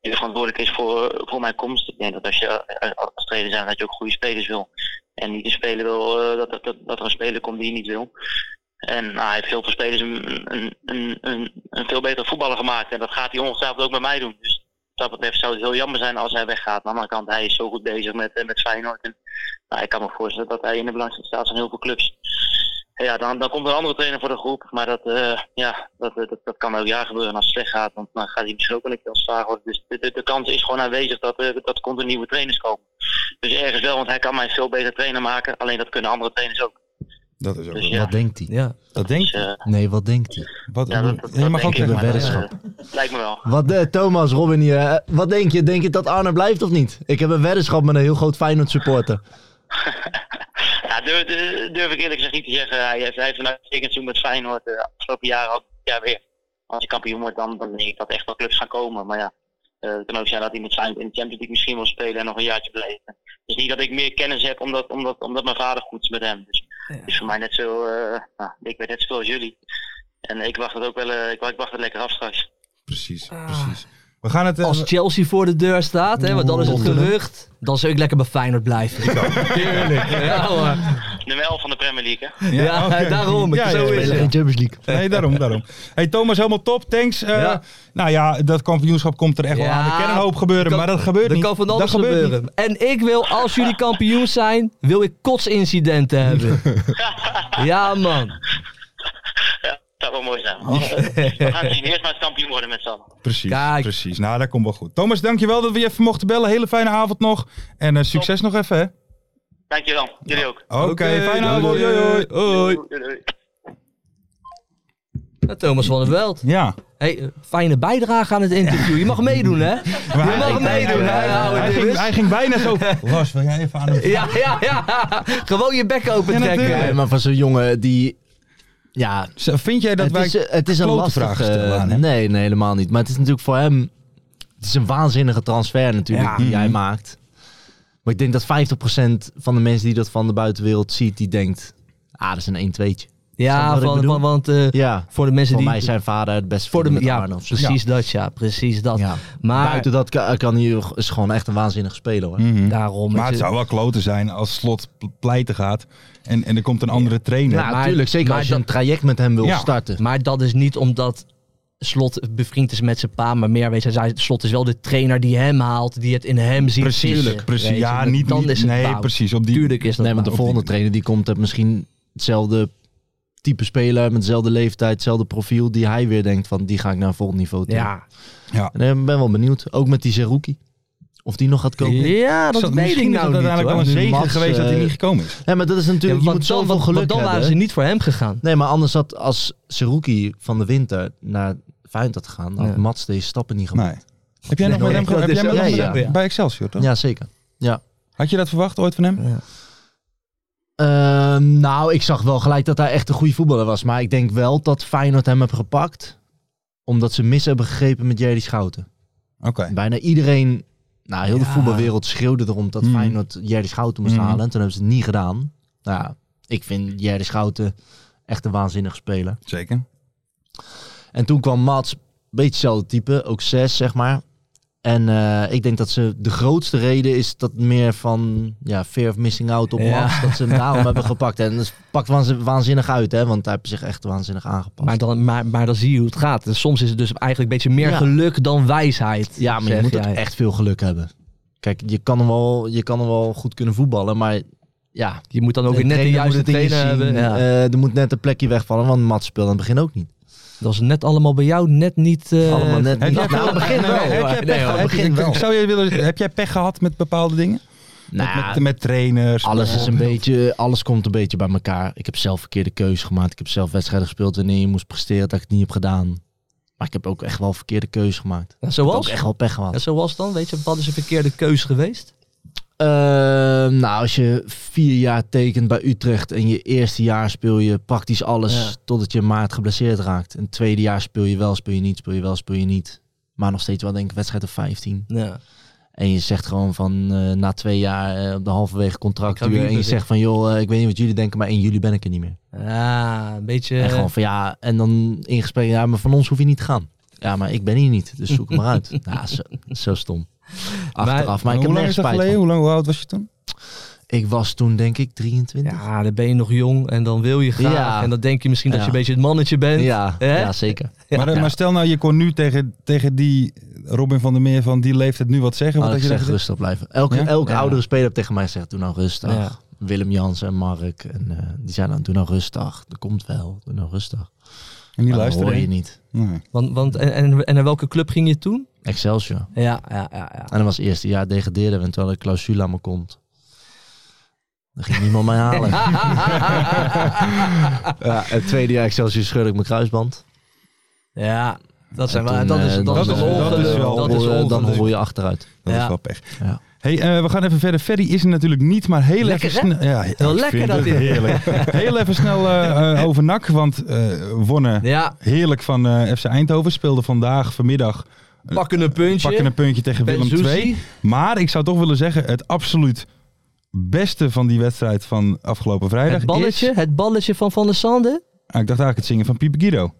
F: eh, verantwoordelijk is voor, voor mijn komst. Ik denk dat als je eh, als trainer zijn dat je ook goede spelers wil. En niet een speler wil, eh, dat, dat, dat er een speler komt die je niet wil. En nou, hij heeft heel veel spelers een, een, een, een, een veel betere voetballer gemaakt. En dat gaat hij ongetwijfeld ook met mij doen. Dus wat dat betreft zou het heel jammer zijn als hij weggaat. Maar aan de andere kant, hij is zo goed bezig met, eh, met Feyenoord. En, nou, ik kan me voorstellen dat hij in de belangstelling staat van heel veel clubs. En ja, dan, dan komt er een andere trainer voor de groep. Maar dat, eh, ja, dat, dat, dat kan elk jaar gebeuren als het slecht gaat. Want dan gaat hij misschien ook wel een keer ontslagen worden. Dus de, de, de kans is gewoon aanwezig dat, eh, dat er continu nieuwe trainers komen. Dus ergens wel, want hij kan mij veel beter trainer maken. Alleen dat kunnen andere trainers ook.
C: Dat is ook.
F: Dus ja,
E: Wat denkt hij?
D: ja.
C: Dat denk
F: dus,
C: je?
F: eh,
E: Nee, wat denkt hij?
C: Wat,
F: ja, dat, dat,
C: je
F: dat
C: mag
F: denk
C: ook
F: ik.
C: zeggen.
F: maar dat,
E: weddenschap.
F: eh, lijkt me wel.
E: Wat, eh, Thomas, Robin hier. eh, Wat denk je? Denk je dat Arne blijft of niet? Ik heb een weddenschap met een heel groot Feyenoord supporter.
F: Ja, durf, durf- durf ik eerlijk gezegd niet te zeggen. Hij heeft, hij heeft een uitstekend seizoen met Feyenoord de afgelopen jaren al ja, weer. Als je kampioen wordt, dan, dan denk ik dat echt wel clubs gaan komen. Maar ja, eh, het kan ook zijn dat hij met Feyenoord in de Champions League misschien wil spelen en nog een jaartje blijven. is niet dat ik meer kennis heb omdat, omdat, omdat mijn vader goed is met hem. Dus het is voor mij net zo, eh, nou, ik weet net zoveel als jullie. En ik wacht het ook wel, eh, ik, wa- ik wacht het lekker af straks.
C: Precies, precies. We gaan het... eh,
D: Ah. Als Chelsea voor de deur staat, hè, want dan is het gerucht. Dan zou ik lekker bij Feyenoord blijven. Tuurlijk. Ja, hoor.
F: Nummer 11 van de Premier League, hè?
D: ja,
C: oké.
D: daarom.
C: Ja,
D: zo
C: ja,
D: is
C: ja.
D: het.
E: Champions League.
C: Nee, daarom, daarom. Hey Thomas, helemaal top. Thanks. Eh,
D: Ja.
C: Nou ja, dat kampioenschap komt er echt wel
D: Ja.
C: aan. Er kan een hoop gebeuren,
D: Kan-
C: maar dat gebeurt
D: Er
C: niet.
D: kan van alles
C: gebeurt
D: gebeuren.
C: niet.
D: En ik wil, als jullie kampioen zijn, wil ik kotsincidenten hebben. ja, man.
F: Ja, dat zou wel mooi zijn. We gaan zien, eerst maar eens kampioen worden met z'n allen.
C: Precies,
D: Kijk.
C: precies. Nou, dat komt wel goed. Thomas, dankjewel dat we je even mochten bellen. Hele fijne avond nog. En eh, succes nog even, hè.
F: Dankjewel, jullie ook.
C: Oké, fijne avond. Hoi, hoi.
D: Hoi.
F: Doei, doei.
D: Ja, Thomas van der Weld.
C: Ja.
D: Hey, eh, fijne bijdrage aan het interview. Je mag meedoen, hè? Je mag meedoen, hè? oude
C: Hij ging,
D: jongens.
C: hij ging bijna zo... Lars, wil jij even aan hem...
D: Ja, ja, ja. Gewoon je bek open
C: Ja,
D: trekken.
C: natuurlijk.
E: Nee, maar van zo'n jongen die... Ja,
C: Zo, Vind jij dat
E: het
C: wij...
E: is, het is een
C: klote
E: lastige...
C: vragen stellen aan hem?
E: nee, nee, helemaal niet. Maar het is natuurlijk voor hem... Het is een waanzinnige transfer natuurlijk
D: Ja. Mhm.
E: die jij maakt. Maar ik denk dat 50% van de mensen die dat van de buitenwereld ziet, die denkt... Ah, dat is een 1-2'tje. Snap je
D: Ja,
E: wat ik
D: van,
E: bedoel?
D: van, want eh,
E: Ja,
D: voor de mensen
E: voor
D: die...
E: mij zijn vader het beste
D: voor
E: voor
D: de,
E: met
D: ja,
E: Arne of zo.
D: precies dat, ja. Precies dat.
E: Ja.
D: Maar Mhm.
E: Buiten dat kan, kan hij is gewoon echt een waanzinnig speler hoor.
D: daarom...
C: Maar
D: het-
C: het zou wel kloten zijn als Slot pleiten gaat en, en er komt een andere trainer.
E: Ja, Nou,
D: maar-
E: natuurlijk. Zeker
D: maar
E: als je
D: dat-
E: een traject met hem wil
C: Ja.
E: starten.
D: Maar dat is niet omdat Slot bevriend is met zijn pa, maar meer weet hij, zei, Slot is wel de trainer die hem haalt, die het in hem ziet.
C: precies,
D: zitten.
C: precies.
D: Weet je,
C: Ja,
D: dat-
C: niet,
D: dan
C: niet-
D: is het
C: nee,
D: fout.
C: precies. Op die,
D: Tuurlijk is dat.
E: nee, maar de
D: fout.
E: volgende
C: die-
E: trainer die komt, heeft misschien hetzelfde type speler, met dezelfde leeftijd, hetzelfde profiel, die hij weer denkt van, die ga ik naar een volgend niveau toe.
D: Ja.
E: En ik ben wel benieuwd, ook met die Zerouki, of die nog gaat komen. Ja.
D: ja, dat
C: Zo,
D: weet ik
C: misschien is
D: nou
C: het
D: niet.
C: uiteindelijk wel
D: hoor.
C: een zegen
E: Mats,
C: geweest dat hij
E: eh,
C: niet gekomen is.
E: maar dat is
D: Ja,
E: natuurlijk, je
D: want
E: moet
D: dan,
E: zoveel
D: want-
E: geluk
D: want dan waren
E: hebben.
D: ze niet voor hem gegaan.
E: Nee, maar anders had als Zerouki van de winter naar Feyenoord had gegaan, had
D: Ja.
E: Mats deze stappen niet gemaakt.
C: Nee. Heb jij nog
E: Nee,
C: met hem
E: dat
C: ge- heb
E: is
C: jij
E: zo.
C: met hem
E: Ja,
C: gedaan?
D: ja.
C: bij Excelsior, toch?
E: Ja, zeker.
C: Had je dat verwacht ooit van hem?
E: Ehm, nou, ik zag wel gelijk dat hij echt een goede voetballer was. Maar ik denk wel dat Feyenoord hem heeft gepakt. Omdat ze mis hebben gegrepen met Jerry Schouten.
C: Oké.
E: Bijna iedereen, nou heel de voetbalwereld schreeuwde erom dat
C: Hmm.
E: Feyenoord Jerry Schouten moest
C: Hmm.
E: halen. En toen hebben ze het niet gedaan. Nou, ja, ik vind Jerry Schouten echt een waanzinnig speler.
C: Zeker.
E: En toen kwam Mats, beetje hetzelfde type, ook zes zeg maar. En eh, ik denk dat ze de grootste reden is dat meer van ja, fear of missing out op
D: Ja.
E: Mats. Dat ze hem daarom hebben gepakt. En dat pakt waanzin- waanzinnig uit, hè? Want hij heeft zich echt waanzinnig aangepast.
D: Maar dan, maar, maar dan zie je hoe het gaat. En soms is het dus eigenlijk een beetje meer
E: Ja.
D: geluk dan wijsheid.
E: ja, maar je
D: zeg
E: moet ook
D: jij.
E: echt veel geluk hebben. Kijk, je kan hem wel, je kan hem wel goed kunnen voetballen, maar ja.
D: Je moet dan ook weer net de
E: trainer moet
D: juiste
E: het in je
D: trainer hebben. Ja.
E: zien. Eh, er moet net een plekje wegvallen, want Mats speelde aan het begin ook niet.
D: dat is net allemaal bij jou net niet... eh,
E: Allemaal net
C: Heb
E: niet.
C: jij
E: Nou,
C: veel-
E: aan het begin
C: Nee,
E: wel.
C: heb
D: hoor.
C: jij
D: Nee,
C: pech
D: hoor,
C: gehad?
E: aan het begin
C: Ik-
E: wel.
C: Zou je willen, heb jij pech gehad met bepaalde dingen?
E: Nou,
C: met, met, met trainers?
E: Alles is een
C: bijvoorbeeld?
E: beetje, alles komt een beetje bij elkaar. Ik heb zelf verkeerde keuzes gemaakt. Ik heb zelf wedstrijden gespeeld wanneer je moest presteren dat ik het niet heb gedaan. Maar ik heb ook echt wel verkeerde keuzes gemaakt. Ik heb ook
D: Zoals?
E: echt wel pech gehad.
D: Ja, zoals dan? Weet je, wat is een verkeerde keus geweest?
E: Eh, nou, als je vier jaar tekent bij Utrecht en je eerste jaar speel je praktisch alles
D: Ja.
E: totdat je maart geblesseerd raakt. En het tweede jaar speel je wel, speel je niet, speel je wel, speel je niet. Maar nog steeds wel denk ik wedstrijd of 15.
D: Ja.
E: En je zegt gewoon van eh, na twee jaar eh, op de halverwege contract
D: Ik ga
E: en je
D: wieberen.
E: zegt van joh, eh, ik weet niet wat jullie denken, maar 1 juli ben ik er niet meer.
D: Ja, een beetje.
E: En gewoon van ja, en dan in gesprek, ja, maar van ons hoef je niet te gaan. Ja, maar ik ben hier niet, dus zoek hem maar uit. Ja, zo, zo stom. Achteraf, maar, ik heb
C: Hoe lang
E: nergens
C: is dat
E: spijt
C: geleden?
E: van.
C: Hoe lang hoe oud was je toen?
E: Ik was toen denk ik 23. Ja,
D: Ja, dan ben je nog jong en dan wil je graag.
E: Ja.
D: En dan denk je misschien dat
E: Ja.
D: je een beetje het mannetje bent.
E: ja,
D: Hè?
E: zeker.
C: Maar, eh, maar stel nou, je kon nu tegen, tegen die Robin van der Meer van die leeftijd nu wat zeggen. Wat
E: Had Oh, ik
C: had je dan
E: gezegd
C: gezegd?
E: rustig blijven. Elke,
C: Ja?
E: elke
D: Ja.
E: oudere speler heeft tegen mij gezegd, doe nou rustig.
D: Ja.
E: Willem Jans en Mark, en, eh, die zeiden dan, doe nou rustig. Dat komt wel, doe nou rustig.
C: En die
E: Maar Oh, dat hoor
C: luisterde.
E: je
C: hè?
E: niet.
C: Nee.
D: Want, want, en, en, en naar welke club ging je toen?
E: Excelsior.
D: Ja, ja, ja. ja.
E: En dan was het eerste jaar degraderen, en terwijl de clausule aan me komt. Dan ging niemand mij halen. Ja, het tweede jaar Excelsior scheurde ik mijn kruisband.
D: ja, dat, zijn
E: En
D: wel,
E: toen,
D: dat is
E: eh,
D: dat is
E: dan,
D: een
E: eh,
C: wel-
D: ongeluk.
C: dat is wel-
D: Dat is
E: dan,
D: ongeluk.
E: eh, dan roei je achteruit.
C: Dat
D: Ja.
C: is wel pech.
E: Ja.
C: Hey, eh, we gaan even verder. Ferry is er natuurlijk niet, maar heel
D: Lekker,
C: even snel. Ja, ik
D: lekker
C: vind
D: dat
C: het
D: dit.
C: Heerlijk. heel even snel eh, eh, over NAC, want eh wonnen
D: Ja,
C: heerlijk van eh, FC Eindhoven. Speelde vandaag, vanmiddag,
D: pakken een puntje.
C: pakken een puntje tegen
D: Ben
C: Willem
D: Zuzi.
C: II. Maar ik zou toch willen zeggen, het absoluut beste van die wedstrijd van afgelopen vrijdag
D: Het balletje,
C: is...
D: het balletje van Van der Sande.
C: Ah, ik dacht eigenlijk het zingen van Pieper Guido.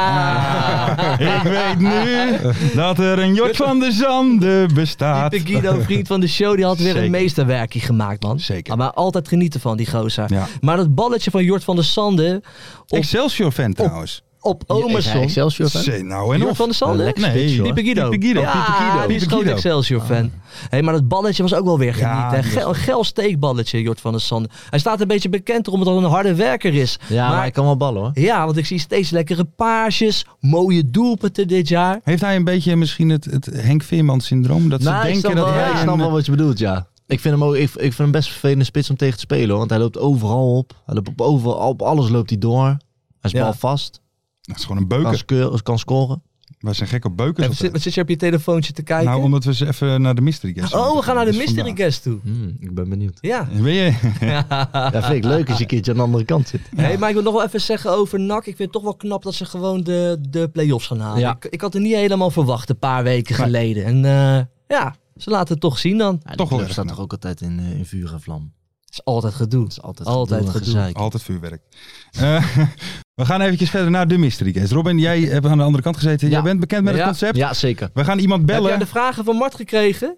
D: Ja!
C: ik weet nu dat er een Jort van de Zanden bestaat.
D: De Guido, vriend van de show, die had weer
C: Zeker.
D: een meesterwerkje gemaakt, man.
C: Zeker.
D: Ah, Maar altijd genieten van die gozer.
C: Ja.
D: Maar dat balletje van Jort van der Sande op,
C: Excelsior fan trouwens.
D: op
E: Is hij
D: Omerson.
E: Excelsior fan?
C: Zee, nou en
D: Jort
C: of.
D: van der Sande?
E: Lekker
C: Nee,
E: spits,
C: joh.
E: hoor.
D: Pieper Guido.
C: Pieper Guido,
D: Ja,
C: Pieper Guido,
D: die is
C: Pieper
D: groot
C: Guido. Ah.
D: Excelsior-fan. Hey, maar dat balletje was ook wel weer genieten.
C: Ja,
D: hè.
C: die was
D: Geil- geil steekballetje, Jort van der Sande. Hij staat een beetje bekend erom dat hij een harde werker is.
E: Ja, maar, hij kan wel ballen hoor.
D: ja, want ik zie steeds lekkere paasjes, mooie doelpunten dit jaar.
C: Heeft hij een beetje misschien het, het Henk Veerman syndroom? Dat
E: Nou,
C: ze
E: ik snap
C: denken dat
E: wel-
C: hij...
E: ik
C: een-
E: snap wel wat je bedoelt, ja. Ik vind hem, ook, ik, ik vind hem best een vervelende spits om tegen te spelen, hoor, want hij loopt overal op. Hij loopt op, overal, op alles loopt hij door. Hij is
D: Ja.
E: balvast,
C: Dat is gewoon een
E: kan,
C: beuker.
E: skeur- kan scoren.
C: Wij zijn gek op
D: Even
C: beukers.
D: zit, wat zit je op je telefoontje te kijken?
C: Nou, omdat we ze even naar de mystery guest
D: oh, we
C: moeten
D: gaan naar de
C: dus
D: mystery
C: vandaar.
D: guest toe.
E: Hmm, ik ben benieuwd.
D: Ja.
C: Wil je?
E: Ja, vind ik leuk als je een keertje aan de andere kant zit.
D: Hey, maar ik wil nog wel even zeggen over NAC. Ik vind het toch wel knap dat ze gewoon de, de play-offs gaan halen.
E: Ja.
D: Ik, ik had het niet helemaal verwacht een paar weken
C: Nee.
D: geleden. En eh, ja, ze laten het toch zien dan.
E: Ja,
C: Toch
E: toch
C: wel
E: club
C: erg
E: staat
C: knap.
E: toch ook altijd in, eh, in vuur en vlam.
D: Het is altijd gedoe.
E: Dat is altijd,
D: Altijd
E: gedoe en
D: gedoe.
E: gezeik.
C: Altijd vuurwerk. Eh, we gaan eventjes verder naar de mystery guest. Robin, jij hebt aan de andere kant gezeten. Jij
E: Ja.
C: bent bekend met het
D: Ja.
C: concept.
E: Ja, zeker.
C: We gaan iemand
D: Heb jij
C: bellen.
D: de vragen van Mart gekregen?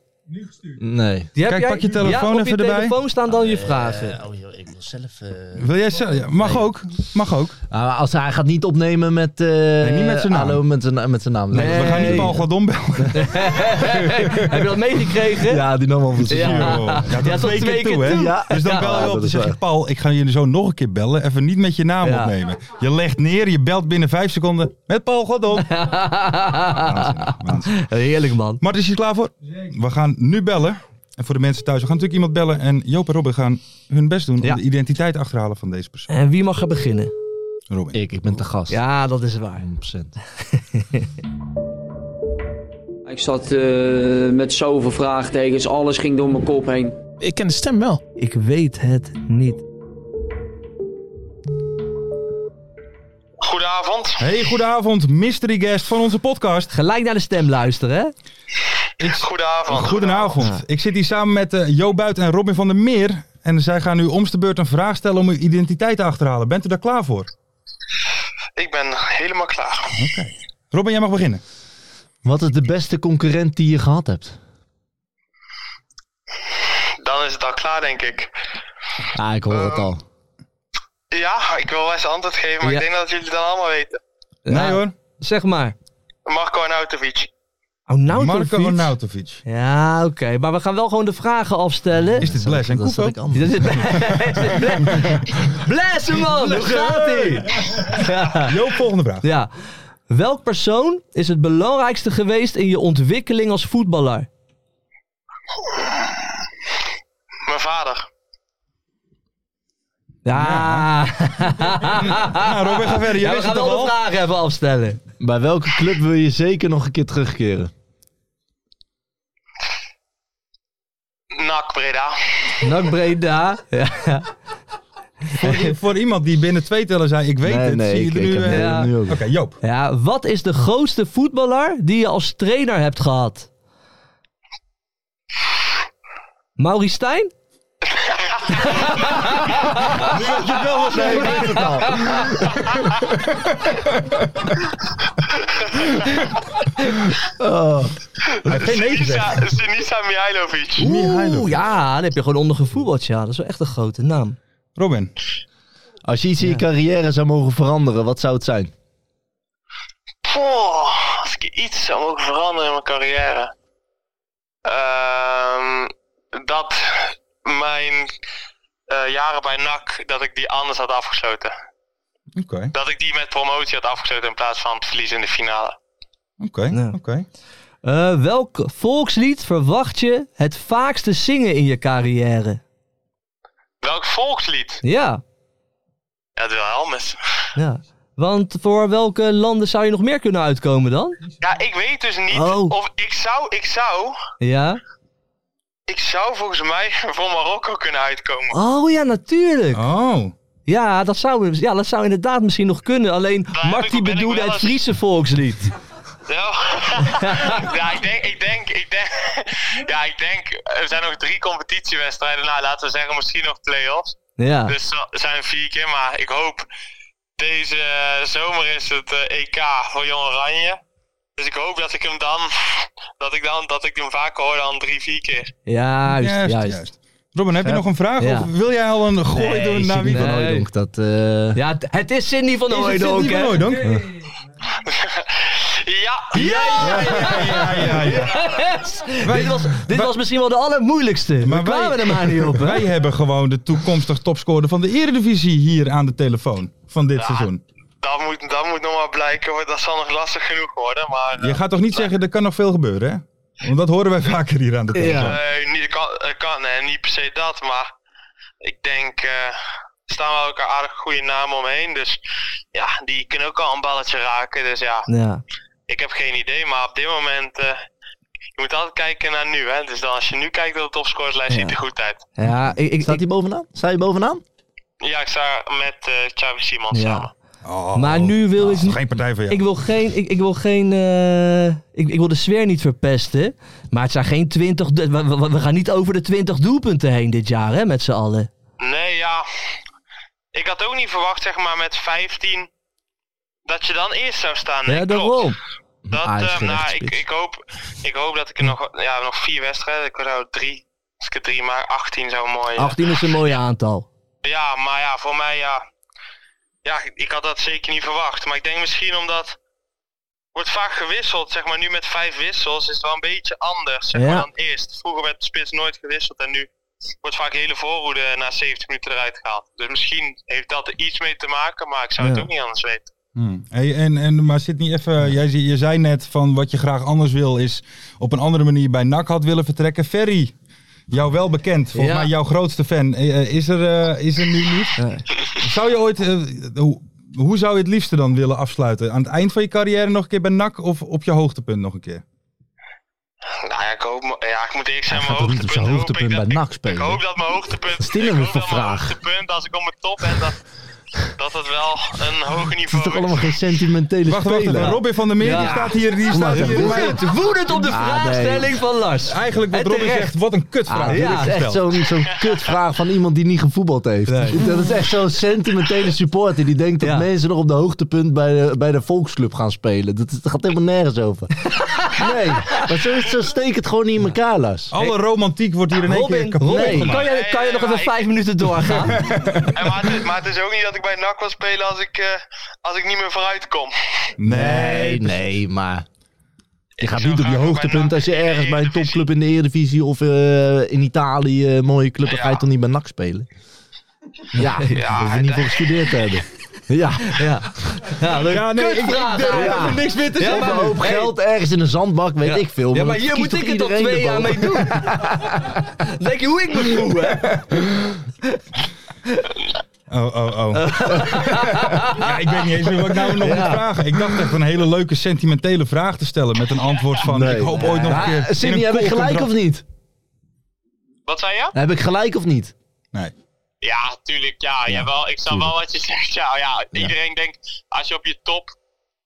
E: Nee.
D: Die heb
C: Kijk,
D: jij-
C: pak je telefoon
D: ja, op je
C: even erbij.
D: telefoon staan dan je vragen.
E: oh joh, ik wil zelf... eh,
C: Wil jij zelf- ja, Mag
E: Nee.
C: ook. Mag ook.
E: Ah, als hij hij gaat niet opnemen met... eh
C: niet met zijn naam.
E: Hallo, met zijn, met zijn naam.
C: We gaan niet Paul Gladon bellen.
D: Heb je dat meegekregen?
E: Ja, die nam al voor zijn
D: Ja.
E: zuur.
C: Ja, tot
D: Ja, tot twee keer toe. Ja.
C: Dus dan
D: Ja.
C: bel
E: Ja,
C: je op
E: dat
C: en
E: is
C: zeg je...
E: waar.
C: Paul, ik ga jullie zo nog een keer bellen. Even niet met je naam
D: Ja.
C: opnemen. Je legt neer, je belt binnen vijf seconden met Paul Gladon. Waanzinnig, waanzinnig.
D: Heerlijk man.
C: Mart, is je klaar voor? We gaan nu bellen. En voor de mensen thuis, we gaan natuurlijk iemand bellen. En Joop en Robin gaan hun best doen
D: Ja.
C: om de identiteit achterhalen van deze persoon.
D: En wie mag er beginnen?
C: Robin.
E: Ik, ik ben te gast.
D: Ja, dat is waar.
E: 100%.
G: Ik zat eh, met zoveel vraagtekens, alles ging door mijn kop heen.
H: Ik ken de stem wel.
D: Ik weet het niet.
F: Goedenavond.
C: Hey, goedenavond, mystery guest van onze podcast.
D: Gelijk naar de stem luisteren, hè?
F: Goedenavond.
C: Goedenavond. Ik zit hier samen met eh Jo Buit en Robin van der Meer. En zij gaan u omste beurt een vraag stellen om uw identiteit te achterhalen. Bent u daar klaar voor?
F: Ik ben helemaal klaar.
C: Robin, jij mag beginnen.
E: Wat is de beste concurrent die je gehad hebt?
F: Dan is het al klaar, denk ik.
E: Ah, ik hoor het al.
F: Ja, ik wil wel eens antwoord geven, maar
D: Ja.
F: ik denk dat jullie het dan allemaal weten.
C: Nee hoor.
D: Zeg maar.
F: Marco Arnautovic.
D: Oh, nou
C: Marco Arnautovic.
D: Ja, oké. Maar we gaan wel gewoon de vragen afstellen.
C: Is dit Bles en
E: Dat zat
C: Koeko?
E: ik anders.
D: Dit is- Bless hem, man! Hoe gaat ie? Ja.
C: Jo, volgende vraag.
D: ja. Welk persoon is het belangrijkste geweest in je ontwikkeling als voetballer?
F: Mijn vader.
D: Ja.
C: Nou, Robin, ga verder. Je
D: Ja, we
C: wist
D: gaan
C: het
D: wel
C: al.
D: de vragen even afstellen.
E: Bij welke club wil je zeker nog een keer terugkeren?
F: Nak Breda.
D: Nak Breda. Ja.
C: Voor, voor iemand die binnen twee tellen zei, ik weet
E: nee,
C: het.
E: nee,
C: zie je
E: ik,
C: er
E: ik
C: nu...
E: heb
C: eh,
D: Ja.
E: nu ook.
C: Oké, Joop.
D: ja, wat is de grootste voetballer die je als trainer hebt gehad? Maurice Stijn?
E: Nee, ik weet het al.
C: Oh. Hij heeft geen nee gezegd.
F: Sinisa, Sinisa Mihailovic.
D: Oeh, ja, dan heb je gewoon ondergevoetbald. Ja, dat is wel echt een grote naam.
C: Robin.
E: Als je iets in je carrière zou mogen veranderen, wat zou het zijn?
F: Poh, als ik iets zou mogen veranderen in mijn carrière. Ehm, dat mijn eh, jaren bij NAC, dat ik die anders had afgesloten.
C: Oké,
F: Dat ik die met promotie had afgesloten in plaats van het verliezen in de finale.
C: oké,
D: Ja.
C: oké.
D: Eh, welk volkslied verwacht je het vaakst te zingen in je carrière?
F: Welk volkslied?
D: Ja,
F: Ja, het Wilhelmus.
D: ja. Want voor welke landen zou je nog meer kunnen uitkomen dan?
F: Ja, ik weet dus niet
D: Oh.
F: of ik zou, ik zou,
D: Ja.
F: ik zou volgens mij voor Marokko kunnen uitkomen.
D: Oh ja, natuurlijk.
C: Oh.
D: Ja, dat zou, ja, dat zou inderdaad misschien nog kunnen. Alleen,
F: heb ik-
D: Mark die
F: ben ik
D: bedoelde
F: wel
D: het
F: eens-
D: Friese volkslied.
F: Ja, ja ik denk, ik denk, ik denk, ja, ik denk, er zijn nog drie competitiewedstrijden. Nou, laten we zeggen, misschien nog play-offs.
D: Ja,
F: Dus dat zijn vier keer, maar ik hoop deze zomer is het eh, EK voor Jong Oranje. Dus ik hoop dat ik hem dan, dat ik dan, dat ik hem vaker hoor dan drie, vier keer.
D: juist, juist.
C: Robin, heb je nog een vraag?
D: Ja.
C: Of wil jij al een gooi doen naar wie?
D: niet.
E: van
D: Nee.
E: Hooijdonk, dat... eh,
D: Ja, het- het is Cindy van Hooydonk, hè?
C: Mooi, dank.
F: Ja,
C: Ja, ja, ja, ja.
D: Yes!
C: Wij-
D: dit was, dit was misschien wel de allermoeilijkste. Maar
C: Maar
D: we kwamen
C: wij-
D: er maar niet op, hè?
C: Wij hebben gewoon de toekomstig topscorer van de Eredivisie hier aan de telefoon van dit seizoen.
F: dat moet, dat moet nog maar blijken, want dat zal nog lastig genoeg worden. Maar eh,
C: Je gaat toch niet zeggen, er kan nog veel gebeuren, hè? Want dat horen wij vaker hier aan de telefoon.
E: Ja.
F: eh, niet, ik kan, ik kan eh, niet per se dat, maar ik denk, eh, er staan we elkaar aardig goede namen omheen. Dus ja, die kunnen ook al een balletje raken. Dus ja,
D: Ja.
F: Ik heb geen idee, maar op dit moment. eh, je moet altijd kijken naar nu, hè? Dus dan, als je nu kijkt op de topscorerslijst, ziet het er goed uit.
D: Ja, ik, ik,
E: Staat
D: ik-
E: hij bovenaan? Sta je bovenaan?
F: Ja, ik sta met eh Xavi Simons
D: Ja.
F: samen.
C: Oh,
D: maar nu wil ik
C: dat is
D: niet...
C: geen partij van jou.
D: Ik wil geen, ik, ik wil geen, eh, ik, ik wil de sfeer niet verpesten. Maar het zijn geen 20. do- We, we- we gaan niet over de 20 doelpunten heen dit jaar, hè, met z'n allen.
F: Nee, ja. Ik had ook niet verwacht, zeg maar, met 15. dat je dan eerst zou staan. Nee,
D: ja,
F: klopt.
D: daarom.
F: Dat,
E: Ah, hij is
F: eh,
E: geen
F: nou,
E: echte
F: ik,
E: spits.
F: ik, hoop, ik hoop dat ik er nog, ja, nog vier wedstrijden. Ik zou drie. Als ik er drie maak, 18 zou mooi. eh,
D: 18 is een mooi aantal.
F: Ja, maar ja, voor mij ja. Ja, ik- ik had dat zeker niet verwacht. Maar ik denk misschien omdat. Wordt vaak gewisseld, zeg maar. Nu met vijf wissels is het wel een beetje anders zeg
D: Ja.
F: maar, dan eerst. Vroeger werd de spits nooit gewisseld en nu wordt vaak de hele voorhoede na 70 minuten eruit gehaald. Dus misschien heeft dat er iets mee te maken, maar ik zou het
D: Ja.
F: ook niet anders weten.
C: Hmm. Hey, en, en, maar zit niet even, jij, zei- je zei net van wat je graag anders wil is op een andere manier bij NAC had willen vertrekken. Ferry, jou wel bekend, volgens
D: Ja.
C: mij jouw grootste fan. Eh, eh, Is er, eh, is er nu niet? Zou je ooit, eh, hoe, hoe zou je het liefste dan willen afsluiten? Aan het eind van je carrière nog een keer bij NAC of op je hoogtepunt nog een keer?
F: Nou ja, ik hoop, mo- ja, ik moet eerlijk zijn,
E: Hij gaat
F: mijn
E: toch niet op
F: hoogtepunt,
E: zijn hoogtepunt bij
F: hoop ik, dat,
E: NAC
F: ik, ik
E: spelen?
F: hoop dat mijn hoogtepunt,
E: is dit nou
F: ik
E: weer
F: hoop
E: voor
F: dat mijn
E: vraag?
F: hoogtepunt, als ik op mijn top ben, dat, dat het wel een hoger
E: Het is
F: niveau
E: toch allemaal geen sentimentele
C: Wacht, wacht,
E: speler?
C: even. Robin van der Meer, die
D: Ja.
C: staat hier, die staat
E: maar,
C: hier.
E: ja,
C: maar-
D: Woedend, woedend op de
E: Ah,
D: vraagstelling van Lars.
C: Eigenlijk wat
D: En
C: Robin
D: terecht.
C: zegt, wat een kutvraag.
E: Ah,
D: ja,
E: dit is echt
C: gesteld.
E: zo'n zo'n kutvraag van iemand die niet gevoetbald heeft.
C: Nee.
E: Dat is echt zo'n sentimentele supporter die denkt dat
D: Ja.
E: mensen nog op de hoogtepunt bij de, bij de volksclub gaan spelen. Dat, dat gaat helemaal nergens over. Nee, maar zo, is- zo steekt het gewoon niet in elkaar, Lars.
C: Alle romantiek wordt hier in één keer
D: Robin,
C: kapot
D: Robin,
C: gemaakt.
D: kan je, kan je nog
F: Nee,
D: even
F: maar
D: vijf minuten doorgaan?
F: En maar, het is, maar het is ook niet dat ik bij NAC wil spelen als ik, eh, als ik niet meer vooruit kom.
E: Nee, nee, maar... Je gaat
F: zou
E: niet op je
F: graag bij
E: hoogtepunt
F: NAC
E: als je
F: in de
E: ergens bij een
F: Eredivisie.
E: topclub in de Eredivisie of eh, in Italië een mooie club, dan ga je
F: Ja.
E: toch niet bij NAC spelen? Ja, daar hoef je niet voor gestudeerd te hebben. Ja,
D: ja. Ja, leuk.
C: Ja, nee, ik- ik
D: Kutvraag.
C: durf
D: Ja.
C: even niks meer te
D: Ja,
E: Op
C: zeggen.
E: een hoop
D: Hey.
E: geld ergens in een zandbak, weet
D: Ja.
E: ik veel.
D: Ja, maar
E: dat
D: hier
E: schiet
D: moet
E: toch
D: ik het al
E: iedereen
C: eh,
D: twee
E: de
D: jaar
E: bal?
D: mee doen. Denk je hoe ik me voel, hè?
C: Oh, oh, oh. ja, ik weet niet eens meer wat ik nou nog moet vragen. Ik dacht echt een hele leuke sentimentele vraag te stellen met een antwoord van
E: Nee.
C: ik hoop ooit nog een keer
E: Maar,
C: in
E: Cindy,
C: een
E: heb ik gelijk of
C: koolcontract-
E: niet?
F: Wat zei je?
E: Heb ik gelijk of niet?
C: Nee.
F: Ja, tuurlijk. Ja, jawel. Ik snap wel wat je zegt. Ja, ja, iedereen denkt, als je op je top...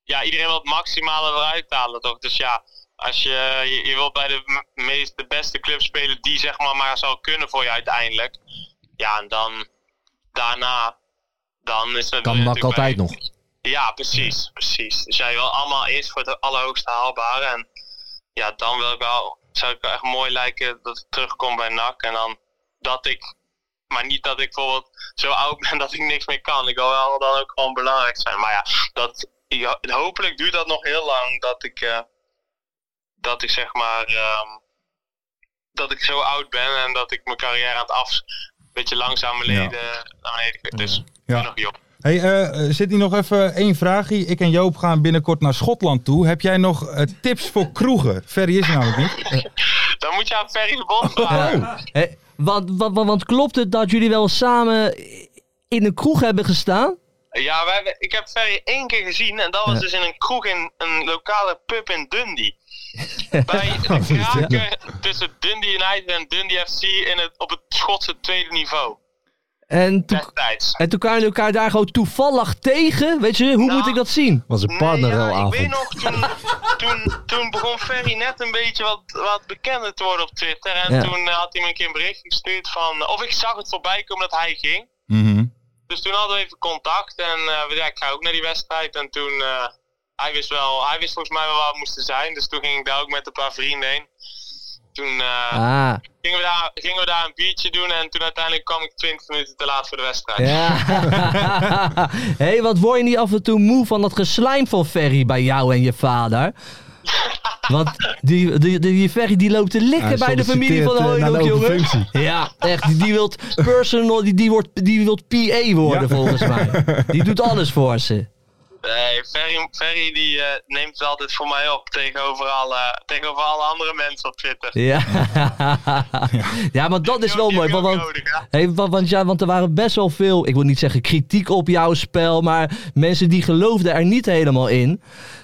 F: Ja, iedereen wil het maximale eruit halen, toch? Dus ja, als je, je, je wilt bij de m- meest, de beste club spelen die zeg maar maar zal kunnen voor je uiteindelijk. Ja, en dan daarna... Dan is dat wil
E: Kan
F: je
E: NAC
F: natuurlijk bij-
E: altijd nog.
F: Ja, precies, precies. Dus jij wil allemaal eerst voor het allerhoogste haalbare. En ja, dan wil ik wel, zou ik wel echt mooi lijken dat ik terugkom bij NAC. En dan dat ik, maar niet dat ik bijvoorbeeld zo oud ben dat ik niks meer kan. Ik wil wel dan ook gewoon belangrijk zijn. Maar ja, dat, ja, hopelijk duurt dat nog heel lang dat ik, eh, dat ik zeg maar, ehm, dat ik zo oud ben en dat ik mijn carrière aan het af, een beetje langzaam naar beneden, naar beneden. Dus ik ben
C: Ja.
F: nog jong.
C: Hey, eh, zit hier nog even één vraagje. Ik en Joop gaan binnenkort naar Schotland toe. Heb jij nog eh, tips voor kroegen? Ferry is er namelijk niet.
F: Dan moet je aan Ferry de Bond vragen.
C: Oh.
D: Hé, want, want, want, want klopt het dat jullie wel samen in een kroeg hebben gestaan?
F: Ja, wij, wij- ik heb Ferry één keer gezien en dat was dus in een kroeg in een lokale pub in Dundee. Bij de kraker tussen Dundee United en Dundee FC in het, op het Schotse tweede niveau.
D: En toen,
F: destijds.
D: en toen kwamen jullie elkaar daar gewoon toevallig tegen. Weet je, hoe
F: Nou.
D: moet ik dat zien?
E: was een partnerruilavond.
F: ik weet nog, toen, toen, toen begon Ferry net een beetje wat, wat bekender te worden op Twitter. En
D: Ja.
F: toen eh, had hij me een keer een bericht gestuurd van... eh, Of ik zag het voorbij komen dat hij ging.
C: Mhm.
F: Dus toen hadden we even contact. En eh, we ja, ik ga ook naar die wedstrijd. En toen... eh, hij wist wel... Hij wist volgens mij wel waar we moesten zijn. Dus toen ging ik daar ook met een paar vrienden heen. Toen eh,
D: Ah,
F: gingen, we daar, gingen we daar een biertje doen. En toen uiteindelijk kwam ik 20 minuten te laat voor de wedstrijd.
D: ja. Hé, hey, wat word je niet af en toe moe van dat geslijm van Ferry bij jou en je vader? Want die, die, die, die Ferry die loopt te likken
H: Hij
D: bij de familie
H: solliciteert,
D: van
H: eh, naar
D: Hooydonk,
H: de open
D: jongen.
H: functie.
D: Ja, echt. Die, die wilt personal, die, die, wordt, die wilt PA worden volgens mij. Die doet alles voor ze.
F: Nee, Ferry, Ferry die eh, neemt het altijd voor mij op tegenover alle, tegenover alle andere mensen op Twitter.
D: Ja, ja maar dat is wel
F: Die heb
D: mooi.
F: je
D: Want,
F: ook
D: want,
F: nodig, hè?
D: hey, wa- want, ja, want er waren best wel veel, ik wil niet zeggen kritiek op jouw spel, maar mensen die geloofden er niet helemaal in.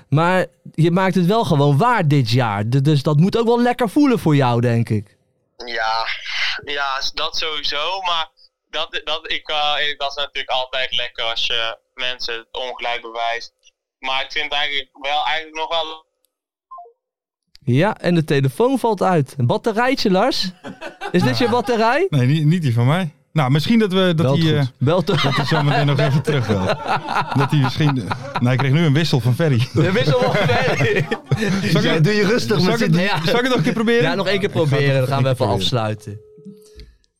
D: Maar je maakt het wel gewoon waar dit jaar. D- Dus dat moet ook wel lekker voelen voor jou, denk ik.
F: Ja, ja, s- dat sowieso. Maar dat, dat, ik, eh, dat is natuurlijk altijd lekker als je mensen het ongelijk bewijst. Maar ik vind het eigenlijk, wel, eigenlijk nog wel...
D: Ja, en de telefoon valt uit. Een batterijtje, Lars? Is dit je batterij?
C: Nee, niet, niet die van mij. Nou, misschien dat we dat
E: Belt
C: die, eh,
E: goed.
D: Bel toch.
C: dat die zometeen nog even terug wil. Dat hij misschien... Nou, ik kreeg nu een wissel van Ferry. Zal
D: De wissel wel
C: ik,
E: Ja,
C: het-
E: doe je rustig
C: zal
E: met
C: ik het,
E: z'n
D: Ja.
C: zal ik het nog een keer proberen?
D: Ja, nog één keer proberen. Dan gaan we even afsluiten.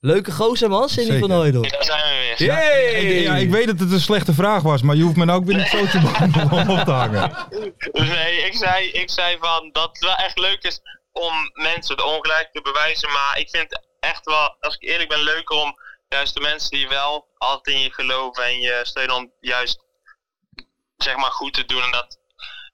D: Leuke gozer, man. Cindy van
C: Zeker.
D: Hooydonk.
F: Daar zijn we weer.
D: Yay!
C: Ik, ja, ik weet dat het een slechte vraag was, maar je hoeft me nou ook weer niet zo te behandelen om op te hangen.
F: Dus nee, ik zei, ik zei van dat het wel echt leuk is om mensen het ongelijk te bewijzen. Maar ik vind het echt wel, als ik eerlijk ben, leuker om juist de mensen die wel altijd in je geloven en je steunen om juist zeg maar goed te doen en dat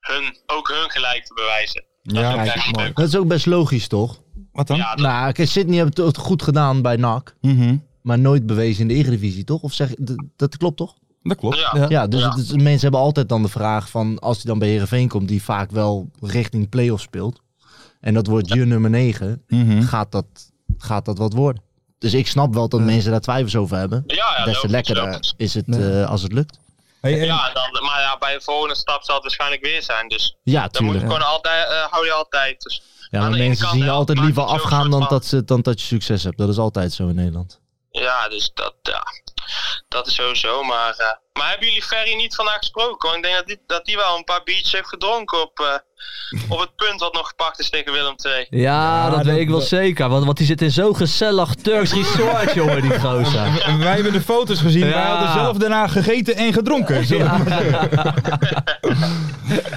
F: hun, ook hun gelijk te bewijzen. Dat
C: Ja,
F: vind ik
C: kijk,
F: echt leuk.
E: Dat is ook best logisch, toch?
C: Wat dan?
F: Ja, dat-
E: Nou, kijk, Sydney heeft het goed gedaan bij NAC,
C: Mhm.
E: maar nooit bewezen in de Eredivisie, toch? Of zeg, d- dat klopt toch?
C: Dat klopt. Mhm.
F: ja.
D: Ja.
E: Ja, dus
F: Ja.
E: het is- mensen hebben altijd dan de vraag van, als hij dan bij Herenveen komt, die vaak wel richting play-off speelt, en dat wordt je nummer 9,
C: Mhm.
E: gaat dat, gaat dat wat worden? Dus ik snap wel dat mensen daar twijfels over hebben.
F: Ja, ja,
E: Des
F: logisch,
E: te lekkerder
F: logisch.
E: is het eh, als het lukt.
C: Hey, en-
F: Ja, dan, maar ja, bij de volgende stap zal het waarschijnlijk weer zijn. Dus
E: Ja,
F: dan moet je
E: tuurlijk.
F: gewoon altijd, eh, hou je altijd. Dus
E: Ja,
F: Aan
E: maar
F: de ene
E: mensen
F: kant,
E: zien je
F: hè,
E: altijd
F: maakt
E: liever
F: het zo'n
E: afgaan
F: soort
E: dan
F: van-
E: dat, ze, dan dat je succes hebt. Dat is altijd zo in Nederland.
F: Ja, dus dat, ja, dat is sowieso. Maar, eh, maar hebben jullie Ferry niet vandaag gesproken? Want ik denk dat die, dat die wel een paar biertjes heeft gedronken op, eh, op het punt wat nog gepakt is tegen Willem II.
D: Ja, dat, weet ik wel zeker. Want, want die zit in zo'n gezellig Turks resort, jongen, die gozer.
C: en wij hebben de foto's gezien. Wij
D: Ja.
C: hadden zelf daarna gegeten en gedronken. zullen we maar zeggen.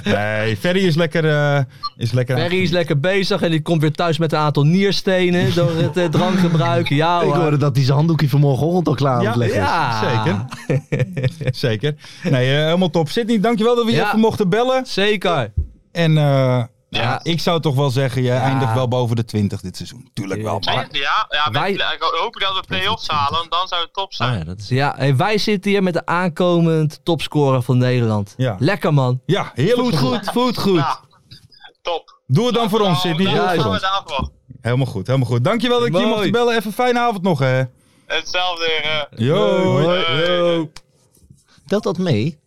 C: Nee, Ferry is lekker. eh, is lekker aan-
D: Perry is lekker bezig en die komt weer thuis met een aantal nierstenen door het eh, drankgebruik. Ja,
E: Ik
D: hoor.
E: hoorde dat hij zijn handdoekje vanmorgenochtend al klaar aan
C: Ja,
E: het leggen is.
D: ja.
C: Zeker. Zeker. Nee, eh, helemaal top. Sydney, dankjewel dat we je
D: Ja.
C: even mochten bellen.
D: Zeker.
C: En eh, ja, ik zou toch wel zeggen, je eindigt wel boven de 20 dit seizoen. Tuurlijk wel. Maar
F: Ja, ja
D: Wij- Oh
F: met- ik hoop dat we play-offs halen, want dan zou het top zijn.
E: Ah ja, dat is...
D: Ja, hey, wij zitten hier met de aankomend topscorer van Nederland.
C: Ja.
D: Lekker,
F: Oh,
D: man.
C: ja, heerlijk.
D: Voelt goed, voelt goed.
F: Ja, top.
C: Doe het dan voor ons,
F: Nou,
C: Sydney.
F: daar
C: Doe het voor
F: gaan we
C: ons.
F: daarvoor.
C: Helemaal goed, helemaal goed. Dankjewel dat ik je
D: Mooi.
C: mocht bellen. Even fijne avond nog, hè.
F: Hetzelfde weer. eh.
C: Yo.
F: Hoi. Yo.
E: Telt dat mee?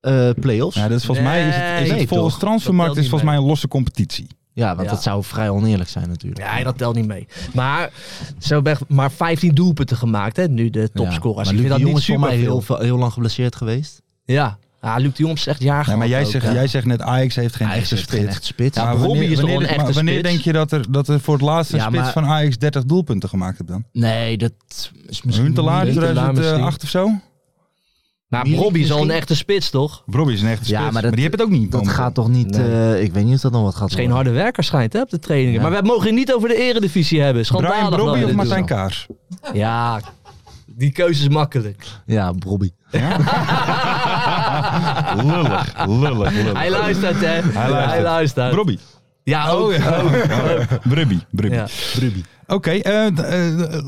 E: Eh playoffs?
C: Ja,
E: Ja,
C: dat is volgens mij is het, is
D: Nee,
C: het volgens
E: toch?
C: transfermarkt
D: Dat
C: is
D: telt niet
C: volgens mij een losse competitie.
E: want
D: Ja.
E: dat zou vrij oneerlijk zijn natuurlijk.
D: Nee, dat telt niet mee. Maar ze hebben echt maar 15 doelpunten gemaakt, hè, nu de
E: Maar
D: topscorers. Ik
E: Luc
D: vind
E: de
D: dat
E: Jong
D: niet
E: is voor
D: super
E: mij heel, veel- heel lang geblesseerd geweest.
D: Ja. ja, Luc de Jong is echt jaar
C: Ja, maar
D: gehad
C: jij
D: ook,
C: zegt,
D: hè.
C: jij zegt net Ajax heeft geen echte
E: Eigenlijk is
C: spits.
E: geen echt spits.
D: Ja,
C: Maar
D: Robbie
C: wanneer-
D: is toch
C: wanneer-
D: een echte
C: maar Wanneer
D: spits?
C: denk je dat er, dat er voor het laatste
E: Ja,
C: spits
E: maar-
C: van Ajax 30 doelpunten gemaakt hebt dan?
E: Nee, dat is misschien...
C: Huntelaar
E: niet-
D: Huntelaar
C: 2008 of zo?
D: Maar
E: Milik
D: Robbie is al een
E: misschien?
D: echte spits, toch?
C: Robbie is een echte
E: Ja,
C: spits,
E: maar dat-
C: maar, die heb het ook niet.
E: Dat
C: momenteel.
E: gaat toch niet...
D: Nee.
E: eh, ik weet niet of dat dan wat gaat
D: is geen harde werker schijnt hè, op de trainingen.
E: Ja.
D: Maar we mogen het niet over de eredivisie hebben.
C: Brian
D: Schandalig. dat we
C: Robbie of
D: dit
C: Martijn
D: doen.
C: Kaars?
D: Ja, die keuze is makkelijk.
E: Ja, Bobby.
C: Lullig, lullig,
D: Hij
C: lullig.
D: luistert, hè. Hij
C: luistert.
D: luistert.
C: Robbie.
D: Ja, ook.
C: Oh ja. Brubby, Brubby.
D: Ja.
C: Oké, eh, d- eh,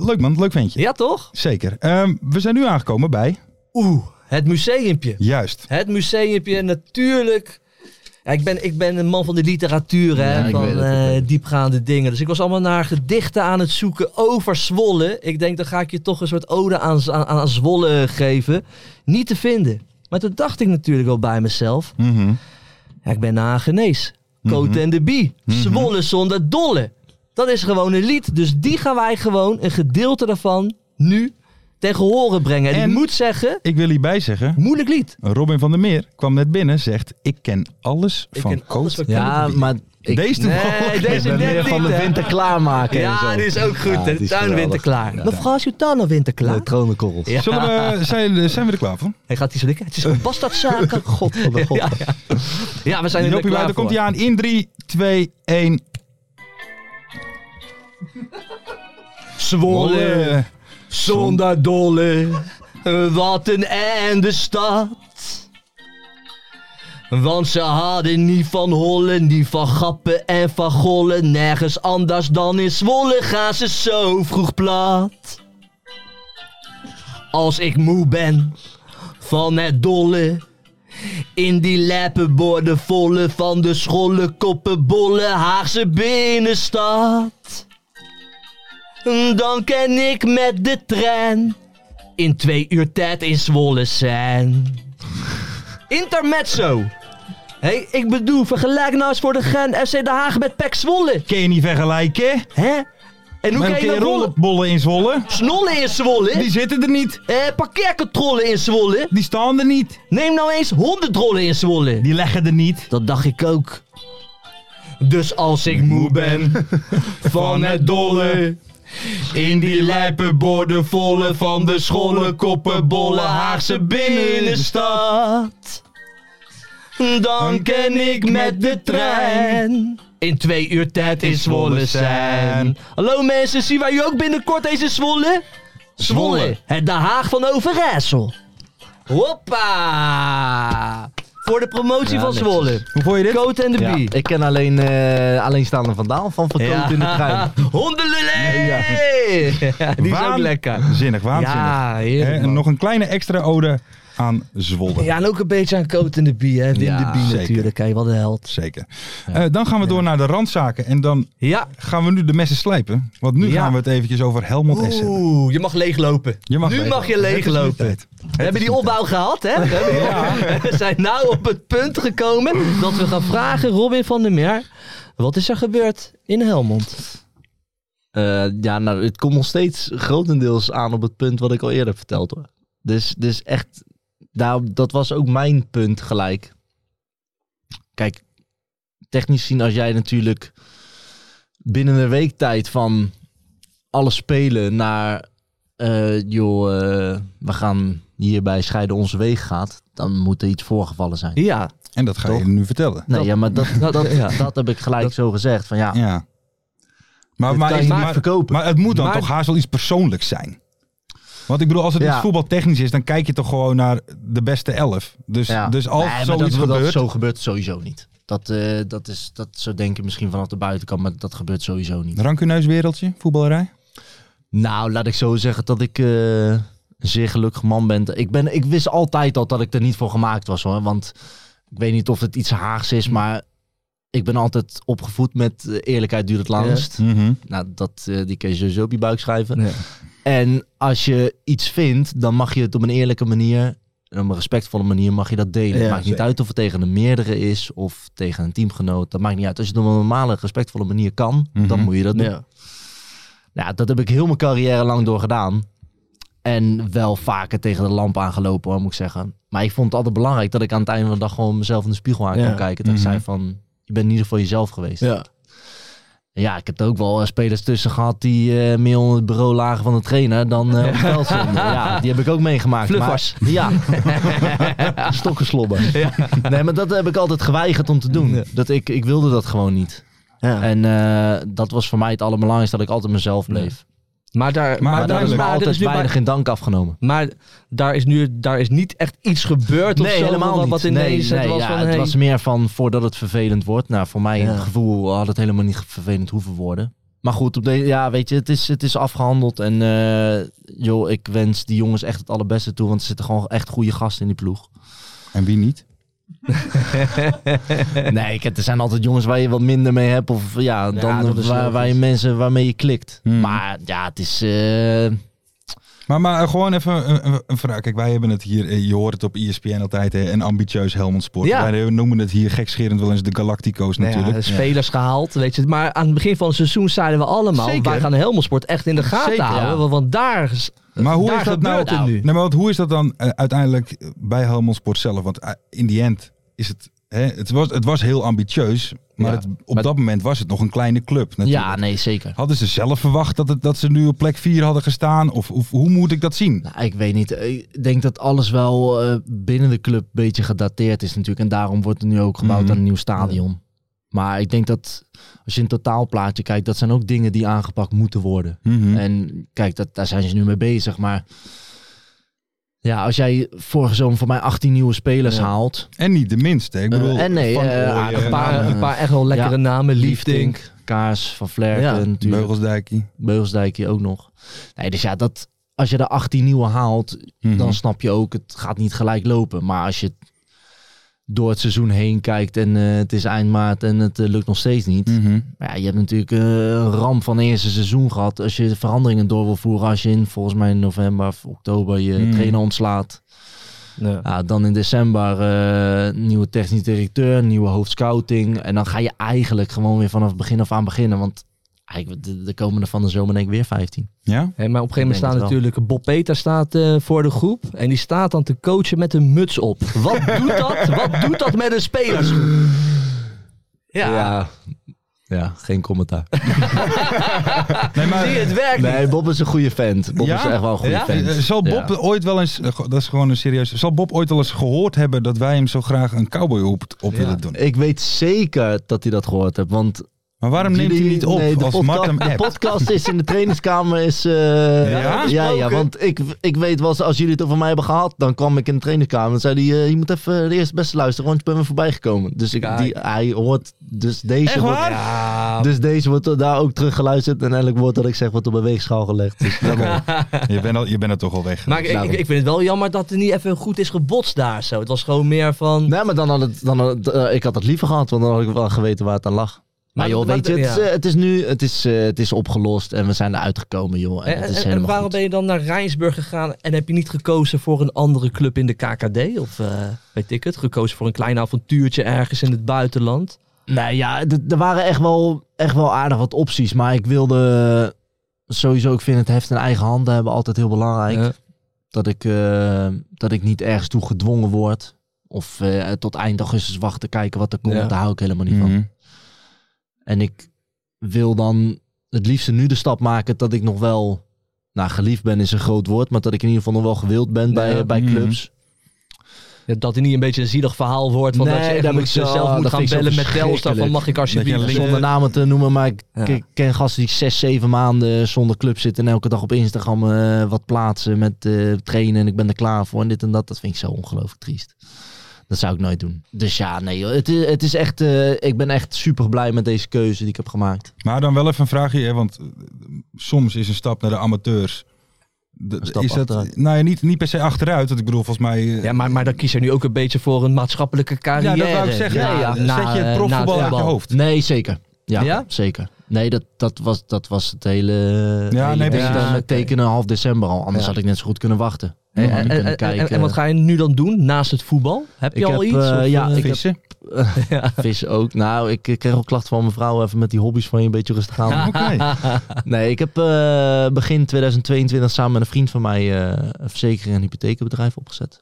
C: leuk man, leuk ventje.
D: ja, toch?
C: Zeker. Ehm, we zijn nu aangekomen bij...
D: Oeh, het museumpje.
C: Juist.
D: Het museumpje, natuurlijk. Ja, Ja, ik, ben, ik ben een man van de literatuur,
E: Ja,
D: hè,
E: ik
D: van
E: weet het, ik
D: eh,
E: weet het.
D: diepgaande dingen. Dus ik was allemaal naar gedichten aan het zoeken over Zwolle. Ik denk, dan ga ik je toch een soort ode aan, aan, aan Zwolle eh, geven. Niet te vinden. Maar toen dacht ik natuurlijk wel bij mezelf,
E: Hm.
C: Mhm.
D: ja, ik ben na een genees. Cote
E: Mhm.
D: en de Bie, Zwolle zonder dolle. Dat is gewoon een lied. Dus die gaan wij gewoon, een gedeelte daarvan, nu tegen horen brengen. En,
C: En-
D: ik moet zeggen,
C: Ik wil hierbij zeggen,
D: moeilijk lied.
C: Robin van der Meer kwam net binnen, zegt ik ken alles
D: Ik
C: van
D: ken alles
C: Koot.
D: van
E: Ja,
D: Cote.
E: maar... Ik,
C: Deze toevallig.
D: Nee, deze
E: ik ben
D: net
E: meer van
D: niet,
E: de
D: hè.
E: winter klaarmaken en
D: Ja,
E: zo.
D: die is ook goed.
E: Ja,
D: hè. de
E: die is
D: tuin
E: geweldig.
D: winterklaar.
E: Ja.
D: Mevrouw Sultana winterklaar.
E: De tronenkorrels.
D: Ja.
C: Zullen we, zijn, eh, zijn we er klaar voor?
D: Hij gaat die zo likken. Het is een bastardzaken. God van de god. Ja, ja. Ja, we zijn er
C: Jopie,
D: klaar
C: daar
D: voor.
C: komt hij aan. In 3, 2, 1.
D: Zwolle, zonder dolle. Wat een einde stad. Want ze hadden niet van hollen, niet van gappen en van gollen. Nergens anders dan in Zwolle gaan ze zo vroeg plat. Als ik moe ben van het dolle. In die leppen borden volle van de scholle koppen bollen Haagse binnenstad. Dan ken ik met de trein in twee uur tijd in Zwolle zijn. Intermezzo. Hé, hey, ik bedoel, vergelijk nou eens voor de Gen FC Den Haag met PEC Zwolle.
C: Kun je niet vergelijken?
D: Hè? En hoe
C: Met
D: kan je
C: een keer
D: dat rollen?
C: rollenbollen in Zwolle.
D: Snollen in Zwolle?
C: Die zitten er niet.
D: Eh, parkeercontrole in Zwolle?
C: Die staan er niet.
D: Neem nou eens hondendrollen in Zwolle.
C: Die leggen er niet.
D: Dat dacht ik ook. Dus als ik moe ben van het dolle. In die lijpe borden volle van de scholle koppen bolle Haagse binnenstad. Dan ken ik met de trein. In twee uur tijd in Zwolle zijn. Hallo mensen, zien wij u ook binnenkort eens in Zwolle? Zwolle, het De Haag van Overijssel. Hoppa! Voor de promotie
E: Ja,
D: van
E: netjes.
D: Zwolle.
C: Hoe vond je dit?
D: Coat en de
E: Ja,
D: Bie.
E: ik ken alleen eh alleenstaande Van Daal van Verkoot in de trein.
D: Hondenlulé!
E: Ja.
D: Die is ook
C: Waan-
D: lekker.
C: Zinnig, waanzinnig.
D: Ja,
C: Hè,
D: heerlijk.
C: en
D: man.
C: nog een kleine extra ode aan Zwolle.
D: Ja, en ook een beetje aan Coat en de Bie, hè. Wim
E: Ja,
D: de Bie
C: zeker.
D: natuurlijk, hè. Wat een held.
C: Zeker. Eh, dan gaan we door naar de randzaken. En dan
D: Ja.
C: gaan we nu de messen slijpen. Want nu
D: Ja.
C: gaan we het eventjes over Helmond S hebben.
D: Oeh, je mag leeglopen.
C: Je mag
D: nu
C: leeglopen.
D: mag je
C: Het is nu
D: leeglopen.
C: tijd.
D: We hebben die opbouw gehad, hè? We, hebben die opbouw. we zijn nou op het punt gekomen dat we gaan vragen, Robin van der Meer, wat is er gebeurd in Helmond?
E: Eh, ja, nou, het komt nog steeds grotendeels aan op het punt wat ik al eerder heb verteld hoor. Dus, dus echt, daar, dat was ook mijn punt gelijk. Kijk, technisch gezien, als jij natuurlijk binnen een week tijd van alle spelen naar, eh, joh, eh, we gaan hierbij scheiden onze wegen gaat, dan moet er iets voorgevallen zijn.
D: Ja,
C: En dat ga je
E: Toch?
C: nu vertellen.
E: Nee,
D: Dat-
E: ja, maar dat, dat, dat,
D: ja.
E: heb ik gelijk zo gezegd. Van ja,
C: Ja. Maar,
E: dit
C: maar,
E: kan
C: is-
E: je niet
C: maar-
E: verkopen.
C: maar het moet dan
D: Maar-
C: toch haast wel iets persoonlijks zijn. Want ik bedoel, als het
E: Ja.
C: iets voetbaltechnisch is, dan kijk je toch gewoon naar de beste elf. Dus,
E: Ja.
C: dus als
E: Nee, maar
C: zoiets
E: dat,
C: gebeurt...
E: Dat, zo gebeurt het sowieso niet. Dat, eh, dat, is, dat zo denken misschien vanaf de buitenkant, maar dat gebeurt sowieso niet.
C: Rancuneus wereldje, voetballerij.
E: Nou, laat ik zo zeggen dat ik eh, een zeer gelukkig man ben. Ik, ben. ik wist altijd al dat ik er niet voor gemaakt was hoor. Want ik weet niet of het iets Haags is, maar ik ben altijd opgevoed met eh, eerlijkheid duurt het langst. Nou, dat, eh, die kun je sowieso op je buik schrijven.
D: Ja.
E: En als je iets vindt, dan mag je het op een eerlijke manier, en op een respectvolle manier, mag je dat delen.
D: Ja,
E: het maakt niet
D: zeker.
E: uit of het tegen een meerdere is of tegen een teamgenoot. Dat maakt niet uit. Als je het op een normale, respectvolle manier kan, dan
C: Mhm.
E: moet je dat doen. Ja. dat heb ik heel mijn carrière lang door gedaan. En wel vaker tegen de lamp aangelopen, hoor, moet ik zeggen. Maar ik vond het altijd belangrijk dat ik aan het einde van de dag gewoon mezelf in de spiegel aan
D: Ja.
E: kon kijken. Dat
C: Mhm.
E: ik zei van, je bent in ieder geval jezelf geweest.
D: ja.
E: Ja, ik heb er ook wel eh, spelers tussen gehad die eh, meer onder het bureau lagen van de trainer dan eh op het veld stonden. Ja, die heb ik ook meegemaakt.
D: Fluffers.
E: Maar, ja. Stokkenslobben. Nee, maar dat heb ik altijd geweigerd om te doen. Dat ik, ik wilde dat gewoon niet.
D: Ja.
E: En eh, dat was voor mij het allerbelangrijkste, dat ik altijd mezelf bleef.
D: Maar daar,
C: Maar
E: Maar daar is me
C: duidelijk.
D: maar er
E: altijd
D: is nu bij-
E: weinig in dank afgenomen.
D: Maar daar is nu daar is niet echt iets gebeurd of zo. wat, Wat
E: niet.
D: ineens
E: nee,
D: het
E: nee,
D: was
E: ja,
D: van,
E: het
D: hey.
E: was meer van voordat het vervelend wordt. Nou, voor mij in
D: Ja.
E: het gevoel had het helemaal niet vervelend hoeven worden. Maar goed, op de, ja, weet je, het is, het is afgehandeld. En eh, joh, ik wens die jongens echt het allerbeste toe. Want er zitten gewoon echt goede gasten in die ploeg.
C: En wie niet?
E: Nee, ik, er zijn altijd jongens waar je wat minder mee hebt. Of ja, dan
D: dat is
E: waar,
D: logisch.
E: waar je mensen waarmee je klikt.
C: Hmm.
E: Maar ja, het is... eh,
C: Maar, maar eh, gewoon even een, een- een vraag. Kijk, wij hebben het hier, eh, je hoort het op ESPN altijd, hè, een ambitieus Helmond Sport.
E: Ja.
C: Wij eh, noemen het hier gekscherend wel eens de Galactico's
D: Nou ja,
C: natuurlijk.
D: spelers gehaald, weet je. Maar aan het begin van het seizoen zeiden we allemaal...
C: Zeker.
D: wij gaan de Helmelsport echt in de gaten
E: Zeker, ja.
D: houden. want- Want daar, is-
C: Maar hoe
D: daar
C: is dat
D: gebeurt
C: nou?
D: het nu.
C: Nee, maar wat, hoe is dat dan eh, uiteindelijk bij Helmond Sport zelf? Want eh, in die end is het, hè, het, was, het was heel ambitieus, maar
E: Ja,
C: het, op
E: maar-
C: dat moment was het nog een kleine club. Natuurlijk.
E: ja, nee, zeker.
C: Hadden ze zelf verwacht dat, het, dat ze nu op plek 4 hadden gestaan? Of, of hoe moet ik dat zien?
E: Nou, ik weet niet. Ik denk dat alles wel eh, binnen de club een beetje gedateerd is natuurlijk. En daarom wordt er nu ook gebouwd
C: Mhm.
E: aan een nieuw stadion. Maar ik denk dat als je een totaalplaatje kijkt, dat zijn ook dingen die aangepakt moeten worden.
C: Mhm.
E: En kijk, dat, daar zijn ze nu mee bezig. Maar ja, als jij vorige zomer voor mij 18 nieuwe spelers haalt.
C: En niet de minste. Ik bedoel,
E: Eh, en nee,
C: Van
E: eh,
C: Ooyen,
E: aardig
D: een, paar,
E: Ja.
D: een paar echt wel lekkere
E: Ja.
D: namen. Liefdink.
E: Liefdink, Kaars, Van Vlerken
D: Ja.
E: natuurlijk.
C: eh, Beugelsdijkie.
E: Beugelsdijk hier ook nog. Nee, dus ja, dat, als je er 18 nieuwe haalt,
C: Mhm.
E: dan snap je ook, het gaat niet gelijk lopen. Maar als je door het seizoen heen kijkt en eh, het is eind maart en het eh, lukt nog steeds niet.
C: Mhm.
E: Maar ja, je hebt natuurlijk eh, een ramp van het eerste seizoen gehad. Als je de veranderingen door wil voeren, als je in volgens mij in november of oktober je
C: Mm.
E: trainer ontslaat.
D: Hmm. Ja.
E: Ja, dan in december eh, nieuwe technisch directeur, nieuwe hoofdscouting. En dan ga je eigenlijk gewoon weer vanaf begin af aan beginnen. Want eigenlijk, de, de komende van de zomer denk ik weer 15.
C: Ja?
D: Hé, maar op een gegeven moment
E: Ik denk
D: staat
E: het wel.
D: natuurlijk Bob Peter staat, eh, voor de groep. En die staat dan te coachen met een muts op. Wat doet dat? Wat doet dat met een spelers? Ja,
E: ja. Ja, geen commentaar.
C: Nee, maar,
D: zie je, het werkt niet.
E: Nee, Bob is een goede vent. Bob
C: Ja?
E: is echt wel een goede
D: Ja?
E: vent.
C: eh, zal Bob
E: Ja.
C: ooit wel eens, eh, go- dat is gewoon een serieus, zal Bob ooit wel eens gehoord hebben dat wij hem zo graag een cowboy op, op willen doen?
E: Ik weet zeker dat hij dat gehoord heeft, want...
C: Maar waarom neemt hij
E: jullie-
C: niet op
E: nee, de
C: als
E: podca-
C: Mart hem
E: De
C: appt?
E: podcast is in de trainingskamer is... eh,
C: Ja?
E: ja, ja, want ik, ik weet wel, eens, als jullie het over mij hebben gehad, dan kwam ik in de trainingskamer en zei hij, eh, je moet even de eerste beste luisteren, want je bent me voorbij gekomen. Dus ik, die, hij hoort, dus deze
C: Echt
E: wordt-
C: waar?
D: Ja,
E: Dus deze wordt daar ook teruggeluisterd en elk woord dat ik zeg wordt op een weegschaal gelegd. Dus dat-
C: Je bent, al, je bent er toch al weg.
D: maar
E: Nou.
D: ik, ik, ik vind het wel jammer dat er niet even goed is gebotst daar zo. Het was gewoon meer van...
E: Nee, maar dan had het, dan had het- eh, ik had het liever gehad, want dan had ik wel geweten waar het aan lag. Maar,
D: Maar
E: joh,
D: dat-
E: weet je, het,
D: ja.
E: is, eh, het is nu, het is, eh, het is opgelost en we zijn eruit gekomen, joh. En,
D: En,
E: het is
D: en- en
E: helemaal
D: waarom
E: goed.
D: ben je dan naar Rijnsburg gegaan en heb je niet gekozen voor een andere club in de KKD? Of eh, weet ik het, gekozen voor een klein avontuurtje ergens in het buitenland?
E: Nee, ja, d- er waren echt wel, echt wel aardig wat opties, maar ik wilde sowieso, ik vind het heft in eigen handen hebben altijd heel belangrijk.
D: Ja.
E: Dat, ik, eh, dat ik niet ergens toe gedwongen word. Of eh, tot eind augustus wachten, kijken wat er komt.
D: Ja.
E: Daar hou ik helemaal niet van.
C: Mhm.
E: En ik wil dan het liefste nu de stap maken dat ik nog wel... Nou, geliefd ben is een groot woord, maar dat ik in ieder geval nog wel gewild ben bij,
D: Ja.
E: bij
C: Mhm.
E: clubs.
D: Ja, dat hij niet een beetje een zielig verhaal wordt. Van
E: Nee,
D: dat je echt
E: daar
D: moet,
E: heb ik zo-
D: zelf moet gaan
E: dat vind ik zo
D: bellen met Telstar van
E: verschrikkelijk.
D: mag ik alsjeblieft...
C: Dat je
D: eh,
C: een
E: Zonder namen te noemen, maar ik
D: Ja.
E: ik ken gasten die zes, zeven maanden zonder club zitten... en elke dag op Instagram eh, wat plaatsen met eh, trainen en ik ben er klaar voor en dit en dat. Dat vind ik zo ongelooflijk triest. Dat zou ik nooit doen. Dus ja, nee joh. Het is, het is echt, eh, ik ben echt super blij met deze keuze die ik heb gemaakt.
C: Maar dan wel even een vraagje, hè, want eh, soms is een stap naar de amateurs. de-
E: Een stap
C: is dat,
E: achteruit.
C: nou ja, niet, niet per se achteruit, want ik bedoel volgens mij... eh,
D: Ja, maar, maar dan kies je nu ook een beetje voor een maatschappelijke carrière.
C: Ja, dat wou ik zeggen.
D: Na-
C: Ja,
E: eh,
D: na-
C: Zet je
D: na
C: het profvoetbal uit je
D: voetbal.
C: hoofd.
E: Nee, zeker. Ja,
D: Ja?
E: zeker. Nee, dat, dat, was, dat was het hele,
C: Ja,
E: hele
C: nee,
E: ding
D: precies.
E: dan
D: Ja,
E: met
D: oké.
E: tekenen half december al. Anders
D: Ja.
E: had ik net zo goed kunnen wachten.
D: En,
E: Ja,
D: en-
E: kunnen
D: en- en-
E: kijken.
D: en wat ga je nu dan doen naast het voetbal? Heb je
E: Ik
D: al
E: heb,
D: iets?
E: eh,
D: Of,
E: ja,
D: eh,
E: ik-
C: Vissen?
E: Vis ook. Nou, ik eh, kreeg ook klachten van mijn vrouw. Even met die hobby's van je een beetje rustig aan.
C: Oké.
E: Nee, ik heb eh, begin 2022 samen met een vriend van mij eh, een verzekering- en hypothekenbedrijf opgezet.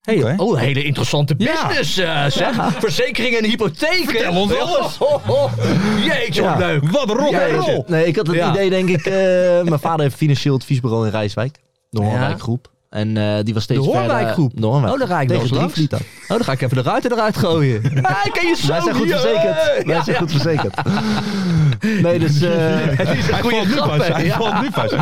D: Hey,
C: Oké.
D: Oh, hele interessante
C: Ja.
D: business. eh, zeg. Verzekeringen en hypotheken.
C: Vertel ons alles.
D: Ho, ho, ho. Jeetje, wat
E: Ja.
D: leuk.
C: Wat een rol
E: nee,
C: is het.
E: nee, ik had het
D: Ja.
E: idee, denk ik. eh, mijn vader heeft financieel adviesbureau in Rijswijk. De
D: Ja.
E: Hoornwijkgroep. En eh, die was steeds
D: De
E: verder-
D: Hoornwijkgroep?
E: De Hoornwijk.
D: Oh, daar ga ik nog
E: Tegen
D: eens langs.
E: Drievliet dan.
D: Oh, dan ga ik even de ruiten eruit gooien. Ah, ik ken je zo.
E: Wij zijn goed
D: joh.
C: eh,
E: verzekerd. Wij
D: Ja,
E: zijn goed verzekerd. Nee, dus... eh,
D: Het is een goede grap, hè.
C: Hij
D: Ja.
C: valt nu vast.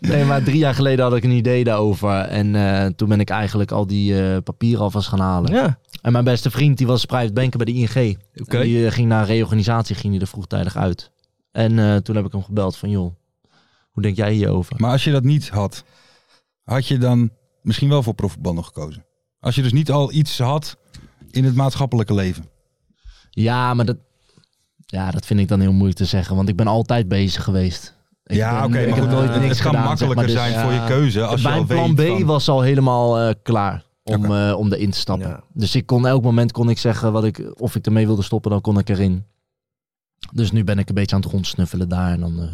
E: Nee, maar drie jaar geleden had ik een idee daarover. En eh, toen ben ik eigenlijk al die eh, papieren alvast gaan halen.
D: Ja.
E: En mijn beste vriend, die was private banker bij de ING.
D: Oké.
E: En Die eh, ging na een reorganisatie ging die er vroegtijdig uit. En eh, toen heb ik hem gebeld van, joh, hoe denk jij hierover?
C: Maar als je dat niet had, had je dan misschien wel voor profvoetbal nog gekozen? Als je dus niet al iets had in het maatschappelijke leven.
E: Ja, maar dat, ja, dat vind ik dan heel moeilijk te zeggen. Want ik ben altijd bezig geweest. Ik
C: ja,
E: ben-
C: oké,
E: ik
C: maar
E: heb
C: goed,
E: nooit
C: het
E: niks
C: kan
E: gedaan, zeg
C: makkelijker
E: maar,
C: zijn
E: dus-
D: ja.
C: voor je keuze als je al
E: Mijn
C: weet
E: plan B
C: van-
E: was al helemaal eh, klaar om, eh, om erin te stappen.
D: Ja.
E: Dus ik kon elk moment kon ik zeggen wat ik, of ik ermee wilde stoppen, dan kon ik erin. Dus nu ben ik een beetje aan het rondsnuffelen daar. En dan eh,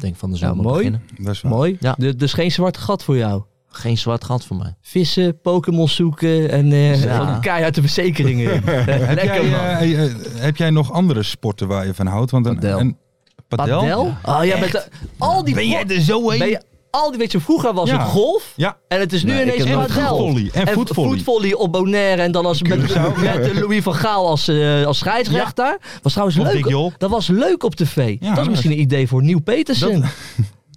E: denk ik van de zomer
D: mooi.
E: beginnen.
C: Dat is waar.
D: Mooi.
E: Ja.
D: Du- dus geen zwart gat voor jou.
E: Geen zwart gat voor mij.
D: Vissen, Pokémon zoeken en eh
E: Ja.
D: van keihard de verzekeringen. in.
C: Heb jij,
D: Lekker man.
C: eh, eh, eh, heb jij nog andere sporten waar je van houdt? Want een,
E: Padel.
C: een- padel?
D: Padel? Oh, jij bent eh, al die
C: Ben jij er zo heen?
D: Ben je- al die weet je vroeger was
C: Ja.
D: het golf
C: Ja.
D: en het is nu
E: Nee, ik
D: ineens
E: heb
D: padel.
E: nooit gevoetbald.
C: Volley en voetvolley.
D: voetvolley op Bonaire en dan als met,
C: Curaçao.
D: met de Louis van Gaal als, eh, als scheidsrechter. Was trouwens
C: Of Dick
D: leuk.
C: Jol.
D: Dat was leuk op tv.
C: Ja,
D: dat
C: dat
D: is misschien een idee voor Nieuw Petersen.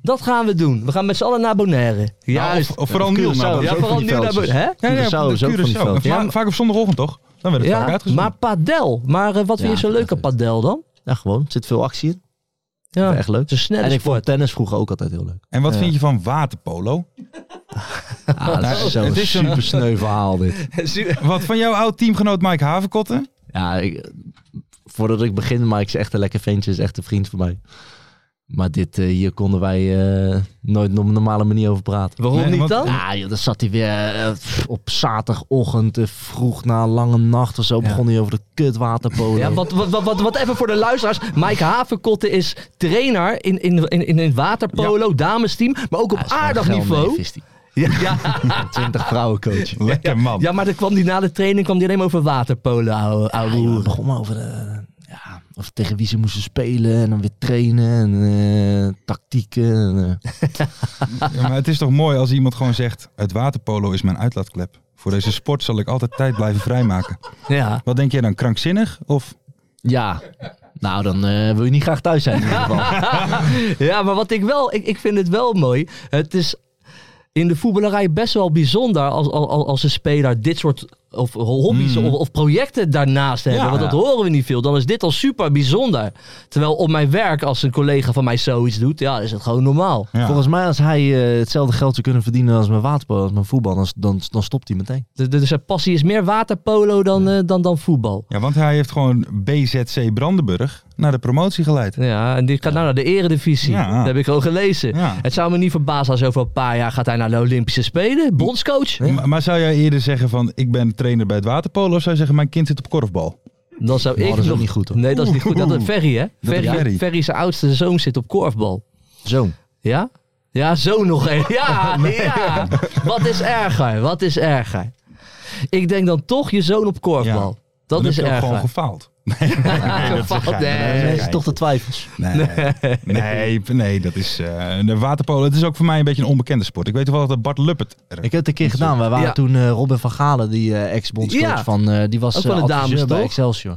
D: Dat... gaan we doen. We gaan met z'n allen naar Bonaire. Juist.
C: of, of vooral
E: Ja,
C: Niel.
E: Curaçao.
C: Nou,
D: ja,
E: ook van
D: vooral
E: die
D: nu naar
E: veldjes.
D: Bonaire. hè?
C: ja, ja,
E: Curaçao is ook van die
C: Curaçao.
E: velden.
C: Vaak-
D: Ja.
C: Vaak op zondagochtend toch? Dan werd het vaak
D: Ja,
C: uitgezonden.
D: maar padel. Maar eh, wat
E: Ja,
D: vind je zo leuk aan
E: echt.
D: padel dan?
E: Ja, gewoon. Er zit veel actie in.
D: Ja,
E: Echt leuk.
D: Het is een snelle
E: En ik
D: sport.
E: vond tennis vroeger ook altijd heel leuk.
C: En wat
E: Ja.
C: vind je van waterpolo?
E: Ja, Ah, dat is zo'n super sneu verhaal dit.
C: Wat van jouw oud teamgenoot Mike Havenkotten?
E: Ja, ik, voordat ik begin, Mike is echt een lekker ventje, is echt een vriend van mij. Maar dit, eh, hier konden wij eh, nooit op een normale manier over praten.
D: Waarom
C: Nee,
D: niet
C: want-
D: dan?
E: Ja, Ah, joh, dan zat hij weer eh, pff, op zaterdagochtend, eh, vroeg na een lange nacht of zo, begon hij over de kutwaterpolo.
D: Ja, wat, wat, wat, wat, wat even voor de luisteraars. Mike Havenkotte is trainer in, in, in, in het waterpolo, damesteam. Maar ook op aardig niveau. Ja, ja,
E: Twintig vrouwencoach.
C: Lekker man.
D: ja, maar dan kwam die na de training kwam die alleen maar over waterpolo. ouwe- ouwe
E: Ja, joh, het
D: hoer.
E: begon maar over de, ja, of tegen wie ze moesten spelen en dan weer trainen en eh, tactieken. En, eh,
C: Ja, maar het is toch mooi als iemand gewoon zegt: Het waterpolo is mijn uitlaatklep. Voor deze sport zal ik altijd tijd blijven vrijmaken.
D: Ja.
C: Wat denk jij dan, krankzinnig? Of
E: ja, nou dan eh, wil je niet graag thuis zijn in ieder geval.
D: ja, maar wat ik wel, ik, ik vind het wel mooi. Het is in de voetballerij best wel bijzonder als, als, als een speler dit soort of hobby's of, of projecten daarnaast hebben.
C: Hmm. Ja.
D: want dat horen we niet veel. Dan is dit al super bijzonder. Terwijl op mijn werk, als een collega van mij zoiets doet, ja, is het gewoon normaal.
C: Ja.
E: Volgens mij, als hij eh, hetzelfde geld zou kunnen verdienen als mijn waterpolo, als mijn voetbal, dan, dan, dan stopt hij meteen.
D: De- de- Dus zijn passie is meer waterpolo dan, eh, dan, dan voetbal.
C: Ja, want hij heeft gewoon BZC Brandenburg naar de promotie geleid.
D: Ja, en die gaat nou naar de eredivisie.
C: Ja.
D: Dat heb ik al gelezen.
C: Ja.
D: Het zou me niet verbazen als over een paar jaar gaat hij naar de Olympische Spelen. Bondscoach.
C: M- Maar zou jij eerder zeggen van ik ben trainer bij het waterpolo of zou je zeggen mijn kind zit op korfbal?
D: Dan zou
E: Nou,
D: ik
E: dat is ook
D: nog-
E: niet goed, hoor.
D: Nee, dat is niet goed. Dat is Ferry, hè? Ferry,
C: is Ferry.
D: Ferry. zijn oudste zoon zit op korfbal.
E: Zoon.
D: Ja? Ja, zo nog een. Ja, ja. Wat is erger? Wat is erger? Ik denk dan toch je zoon op korfbal. Dat
C: Dan
D: is
C: heb je ook gewoon
D: erger.
C: gefaald.
D: Gevat,
C: Nee,
D: nee.
C: dat
E: Dat is toch de twijfels.
C: Nee, nee, nee dat is eh, de waterpolo. Het is ook voor mij een beetje een onbekende sport. Ik weet wel dat Bart Luppert. er-
E: Ik heb het een keer gedaan. Wij waren
D: Ja.
E: toen eh, Robin van Galen, die eh, ex-bondscoach
D: Ja.
E: van, eh, die was
D: Ook
E: eh,
D: van de
E: adviseur
D: dames,
E: bij
D: toch?
E: Excelsior.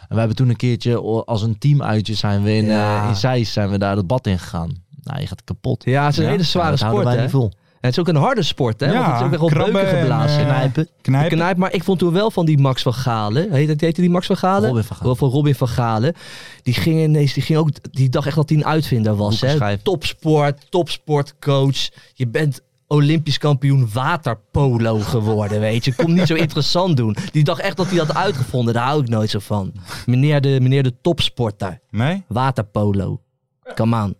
E: En we hebben toen een keertje o- als een team uitje zijn we in,
D: Ja.
E: eh, in Zeist zijn we daar het bad in gegaan. Nou, je gaat kapot.
D: Ja, het is een
E: Ja,
D: hele zware
E: dat houden
D: sport,
E: wij
D: hè?
E: niet vol.
D: En het is ook een harde sport, hè?
C: Ja,
D: Want het is ook echt op
C: krabben
D: beuken
C: en,
D: geblazen. Nou,
C: eh,
E: Knijpen.
C: knijpen.
D: Knijp, maar ik vond toen wel van die Max van Galen. Heet, heette die Max van Galen?
E: Robin van Galen.
D: Van Robin van Galen. Die ging ineens, die ging ook, die dacht echt dat hij een uitvinder was. Hè?
E: Boekenschrijver.
D: Topsport, topsportcoach. Je bent Olympisch kampioen waterpolo geworden, weet je. Kom niet zo interessant doen. Die dacht echt dat hij had uitgevonden. Daar hou ik nooit zo van. Meneer de, meneer de topsporter.
C: Nee?
D: Waterpolo. Come on.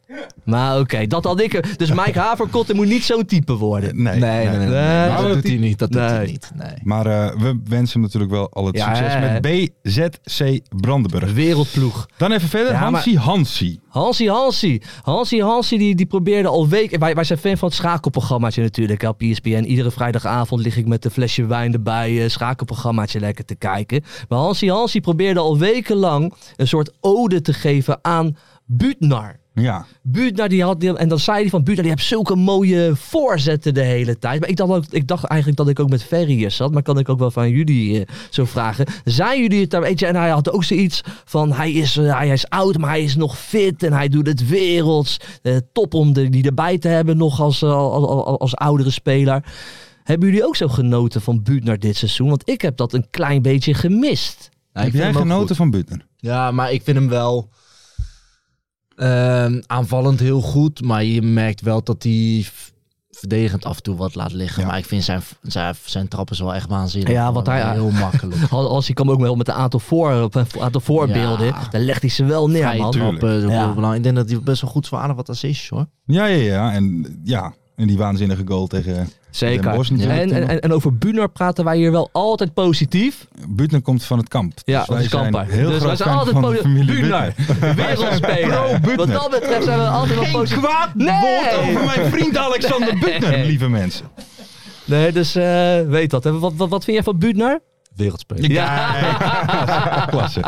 D: Maar oké, dat had ik. Dus Mike Haverkotten moet niet zo'n type worden. Eh.
C: Nee.
E: Nee, nee, nee. nee, nee.
D: Nee,
E: dat,
D: nou, dat
E: doet hij niet. Dat doet hij
D: Nee.
E: niet. Nee. Nou,
C: Maar eh, we wensen hem natuurlijk wel al het
D: Ja,
C: succes
D: hè?
C: met BZC Brandenburg.
D: Wereldploeg.
C: Dan even verder,
D: Ja, maar-
C: Hansi Hansi.
D: Hansi Hansi. Hansi Hansi die, die probeerde al weken... Wij, wij zijn fan van het schakelprogrammaatje natuurlijk hè, op E ESPN. Iedere vrijdagavond lig ik met een flesje wijn erbij... eh schakelprogrammaatje lekker te kijken. Maar Hansi Hansi probeerde al wekenlang... een soort ode te geven aan Butnar.
C: Ja.
D: Buurtner die had, die- en dan zei hij van Buurtner, die hebt zulke mooie voorzetten de hele tijd. Maar ik dacht, ook, ik dacht eigenlijk dat ik ook met Ferry hier zat, maar kan ik ook wel van jullie eh, zo vragen. Zijn jullie het daar, weet je, en hij had ook zoiets van, hij is, eh, hij is oud, maar hij is nog fit en hij doet het werelds. Eh, top om de, die erbij te hebben nog als, eh, als, als, als oudere speler. Hebben jullie ook zo genoten van Buurtner dit seizoen? Want ik heb dat een klein beetje gemist.
E: Nou, ik
C: Heb
E: vind
C: jij
E: hem ook
C: genoten
E: goed.
C: van Butner?
E: Ja, maar ik vind hem wel ehm, aanvallend heel goed. Maar je merkt wel dat hij f- verdedigend af en toe wat laat liggen.
C: Ja.
E: Maar ik vind zijn, zijn, zijn trappen wel echt waanzinnig.
D: Ja, want
E: Gewoon
D: hij-
E: Heel makkelijk.
D: Al- Als hij kwam ook wel met een aantal, voor, een aantal voorbeelden,
E: Ja.
D: dan legt hij ze wel neer,
E: Vrije
D: man.
C: tuurlijk.
E: trappen, dat
D: Ja.
E: wordt belangrijk. eh, Ik denk dat hij best wel goed voor aardig wat assists hoor.
C: Ja, ja, ja. En, ja. en die waanzinnige goal tegen Den Bosch
D: En,
C: natuurlijk.
D: en, en, en over Bunar praten wij hier wel altijd positief.
C: Buutner komt van het kamp.
D: Ja,
C: Dus
D: dat
C: wij
D: is
C: zijn
D: Kampa.
C: heel
D: dus wij
C: groot
D: zijn
C: fan
D: altijd
C: van de
D: positief.
C: familie
D: Bunar, wereldspeler. Wat
C: Buutner.
D: dat betreft zijn we altijd wel positief.
C: kwaad
D: Nee.
C: over mijn vriend Alexander Buutner, lieve mensen.
D: Nee, dus eh, weet dat. En Wat, wat, wat vind jij van Bunar?
E: Wereldspeler.
D: Ja.
C: Klasse.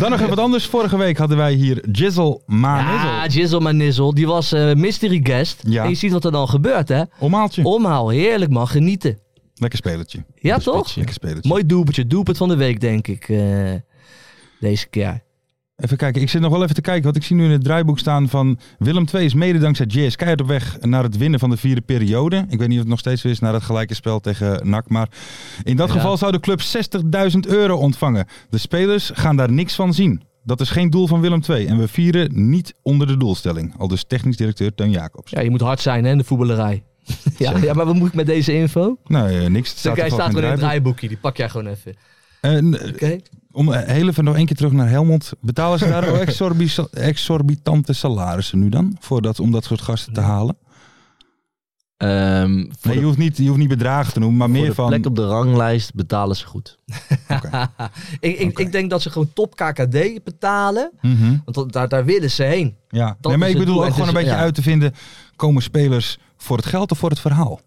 C: Dan nog even wat anders. Vorige week hadden wij hier Jizzle
D: Ja,
C: Maanizzle.
D: Jizzle Manizzle, die was eh, mystery guest.
C: Ah, Ja.
D: En je ziet wat er dan gebeurt, hè?
C: Omhaaltje.
D: Omhaal, heerlijk man, genieten.
C: Lekker spelertje.
D: Ja,
C: Lekker
D: toch?
C: spitsje. Lekker spelertje.
D: Mooi doelpuntje, doelpunt van de week, denk ik. eh, deze keer.
C: Even kijken, ik zit nog wel even te kijken, want ik zie nu in het draaiboek staan van Willem II is mede dankzij JS keihard op weg naar het winnen van de vierde periode. Ik weet niet of het nog steeds zo is naar het gelijke spel tegen NAC, maar in dat
D: Ja.
C: geval zou de club 60.000 euro ontvangen. De spelers gaan daar niks van zien. Dat is geen doel van Willem II en we vieren niet onder de doelstelling. Al dus technisch directeur Teun Jacobs.
D: Ja, je moet hard zijn, hè, in de voetballerij. ja, ja, maar wat moet ik met deze info?
C: Nou, eh, niks. Het
D: Staat
C: staat
D: Hij
C: er
D: Dus staat wel in het
C: draaiboek.
D: draaiboekje, die pak jij gewoon even.
C: En, eh,
D: Oké.
C: om eh, heel even nog één keer terug naar Helmond. Betalen ze daar ook exorbi- exorbitante salarissen nu dan? Voor dat, om dat soort gasten te halen?
E: Ehm, voor
C: Nee, je
E: de,
C: hoeft niet, je hoeft niet bedragen te noemen, maar
E: voor
C: meer
E: de
C: van.
E: plek op de ranglijst betalen ze goed.
D: ik, ik, ik denk dat ze gewoon top KKD betalen.
C: Mhm,
D: Want dat- daar, daar willen ze heen.
C: ja.
D: Dat
C: nee, maar
D: is
C: ik
D: het doel.
C: bedoel ook
D: Het
C: gewoon
D: is-
C: een beetje
D: ja.
C: uit te vinden: komen spelers voor het geld of voor het verhaal?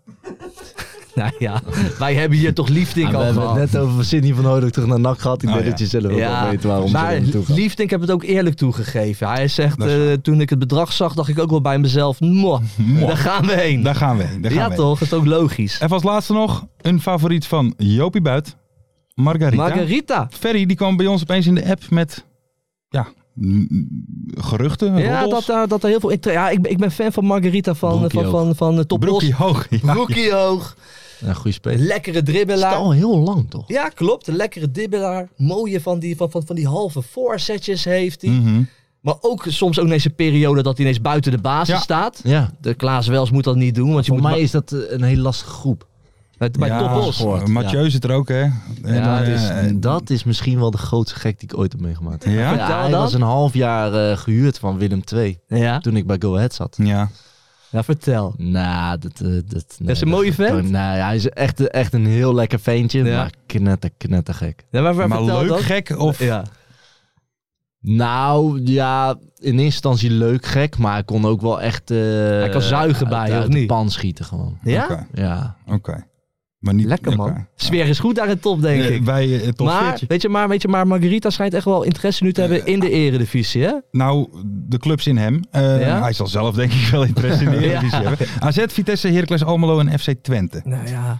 D: Nou ja, wij hebben hier toch
E: Ah,
D: Liefdink
E: we
D: al
E: hebben
D: gehad.
E: het net over Sidney van Hooydonk terug naar NAC gehad. Ik
C: Oh,
E: weet
C: ja.
E: dat je zelf ook wel weet waarom ze
D: maar
E: er naartoe gaan.
D: Liefdink heb het ook eerlijk toegegeven. Hij zegt,
C: Dat is
D: eh, toen ik het bedrag zag, dacht ik ook wel bij mezelf, "Mwah,
C: Mwah.
D: daar gaan we heen.
C: Daar gaan we heen. Daar gaan
D: ja
C: we heen.
D: toch, dat is ook logisch.
E: Eh,
C: Even als laatste nog: een favoriet van Jopie Buit, Margarita.
D: Margarita.
C: Ferry, die kwam bij ons opeens in de app met. Ja, m- m- geruchten.
D: Ja,
C: roddels.
D: dat, daar dat er heel veel... inter- Ja, ik, ben- ik ben fan van Margarita van,
E: Broekie
D: van, van, van, eh, Top
C: Broekie hoog. Ja.
D: Os. Broekie hoog.
E: Een goede speler.
D: Lekkere
E: Is het
D: dribbelaar.
E: al heel lang toch?
D: Ja, klopt. Een lekkere dibbelaar. Mooie van die, van, van, van die halve voorzetjes heeft hij.
C: Mhm.
D: Maar ook soms ook in deze periode dat hij ineens buiten de basis
C: Ja.
D: staat.
E: Ja.
D: De Klaas Wels moet dat niet doen. Want je
E: Voor
D: moet
E: mij is dat eh, een hele lastige groep.
D: bij, bij
C: ja,
D: Top Os.
E: gehoord,
C: Mathieu zit er ook, hè? En,
E: Ja,
C: eh,
E: het is-
C: en-
E: dat is misschien wel de grootste gek die ik ooit heb meegemaakt.
C: Ja?
D: Vertel
E: Ja, hij
D: dan.
E: was een half jaar eh, gehuurd van Willem II
D: Ja.
E: toen ik bij Go Ahead zat.
C: Ja.
D: ja, vertel.
E: Nou, dat, eh, dat, nee,
D: is een mooie vent.
E: kan- Nee, hij is echt, echt een heel lekker ventje,
D: Ja.
E: maar knetter, knetter gek.
D: Ja, maar,
C: Maar
D: vertel
C: leuk,
D: dat.
C: gek of...
D: Ja.
E: Nou, ja, in eerste instantie leuk gek, maar hij kon ook wel echt... eh,
D: Hij kan zuigen bij
E: uit,
D: je,
E: uit
D: of
E: de
D: niet?
E: pan schieten gewoon.
D: ja?
C: Oké,
E: Ja,
C: oké. Maar niet...
D: Lekker man.
C: oké.
D: Sfeer is goed daar in top, denk
C: Nee,
D: ik.
C: Wij eh, top
D: Maar
C: 40.
D: weet, je, maar, weet je, maar Margarita schijnt echt wel interesse nu te hebben in de eredivisie, hè?
C: Nou, de clubs in hem. Eh,
D: Ja?
C: Hij zal zelf denk ik wel interesse in de Eredivisie hebben. AZ, Vitesse, Heracles, Almelo en FC Twente.
D: Nou ja,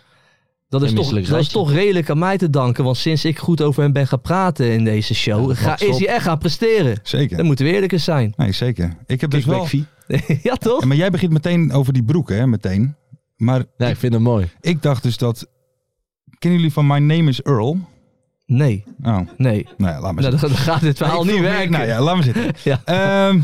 D: dat is,
E: Een
D: toch,
E: misselijk
D: dat is
E: rijtje.
D: toch redelijk aan mij te danken. Want sinds ik goed over hem ben gaan praten in deze show,
E: dat
D: ga,
E: maakt
D: is
E: op.
D: hij echt gaan presteren. Dan
C: Zeker.
D: moeten we eerlijk eens zijn.
C: Nee, zeker. Ik heb dus wel...
E: Kickback-fee.
D: ja, toch?
C: Ja, Maar jij begint meteen over die broeken, hè? Meteen. Maar
E: Nee, ik vind hem mooi.
C: ik dacht dus dat... Kennen jullie van My Name is Earl? Oh,
D: Nee,
C: nou
D: nee.
C: ja, laat maar
D: Nou,
C: zitten.
D: dan, dan gaat dit
C: Ik
D: verhaal niet
C: vroeg me-
D: werken.
C: Nou ja, laat maar zitten.
D: Ja.
C: Ehm,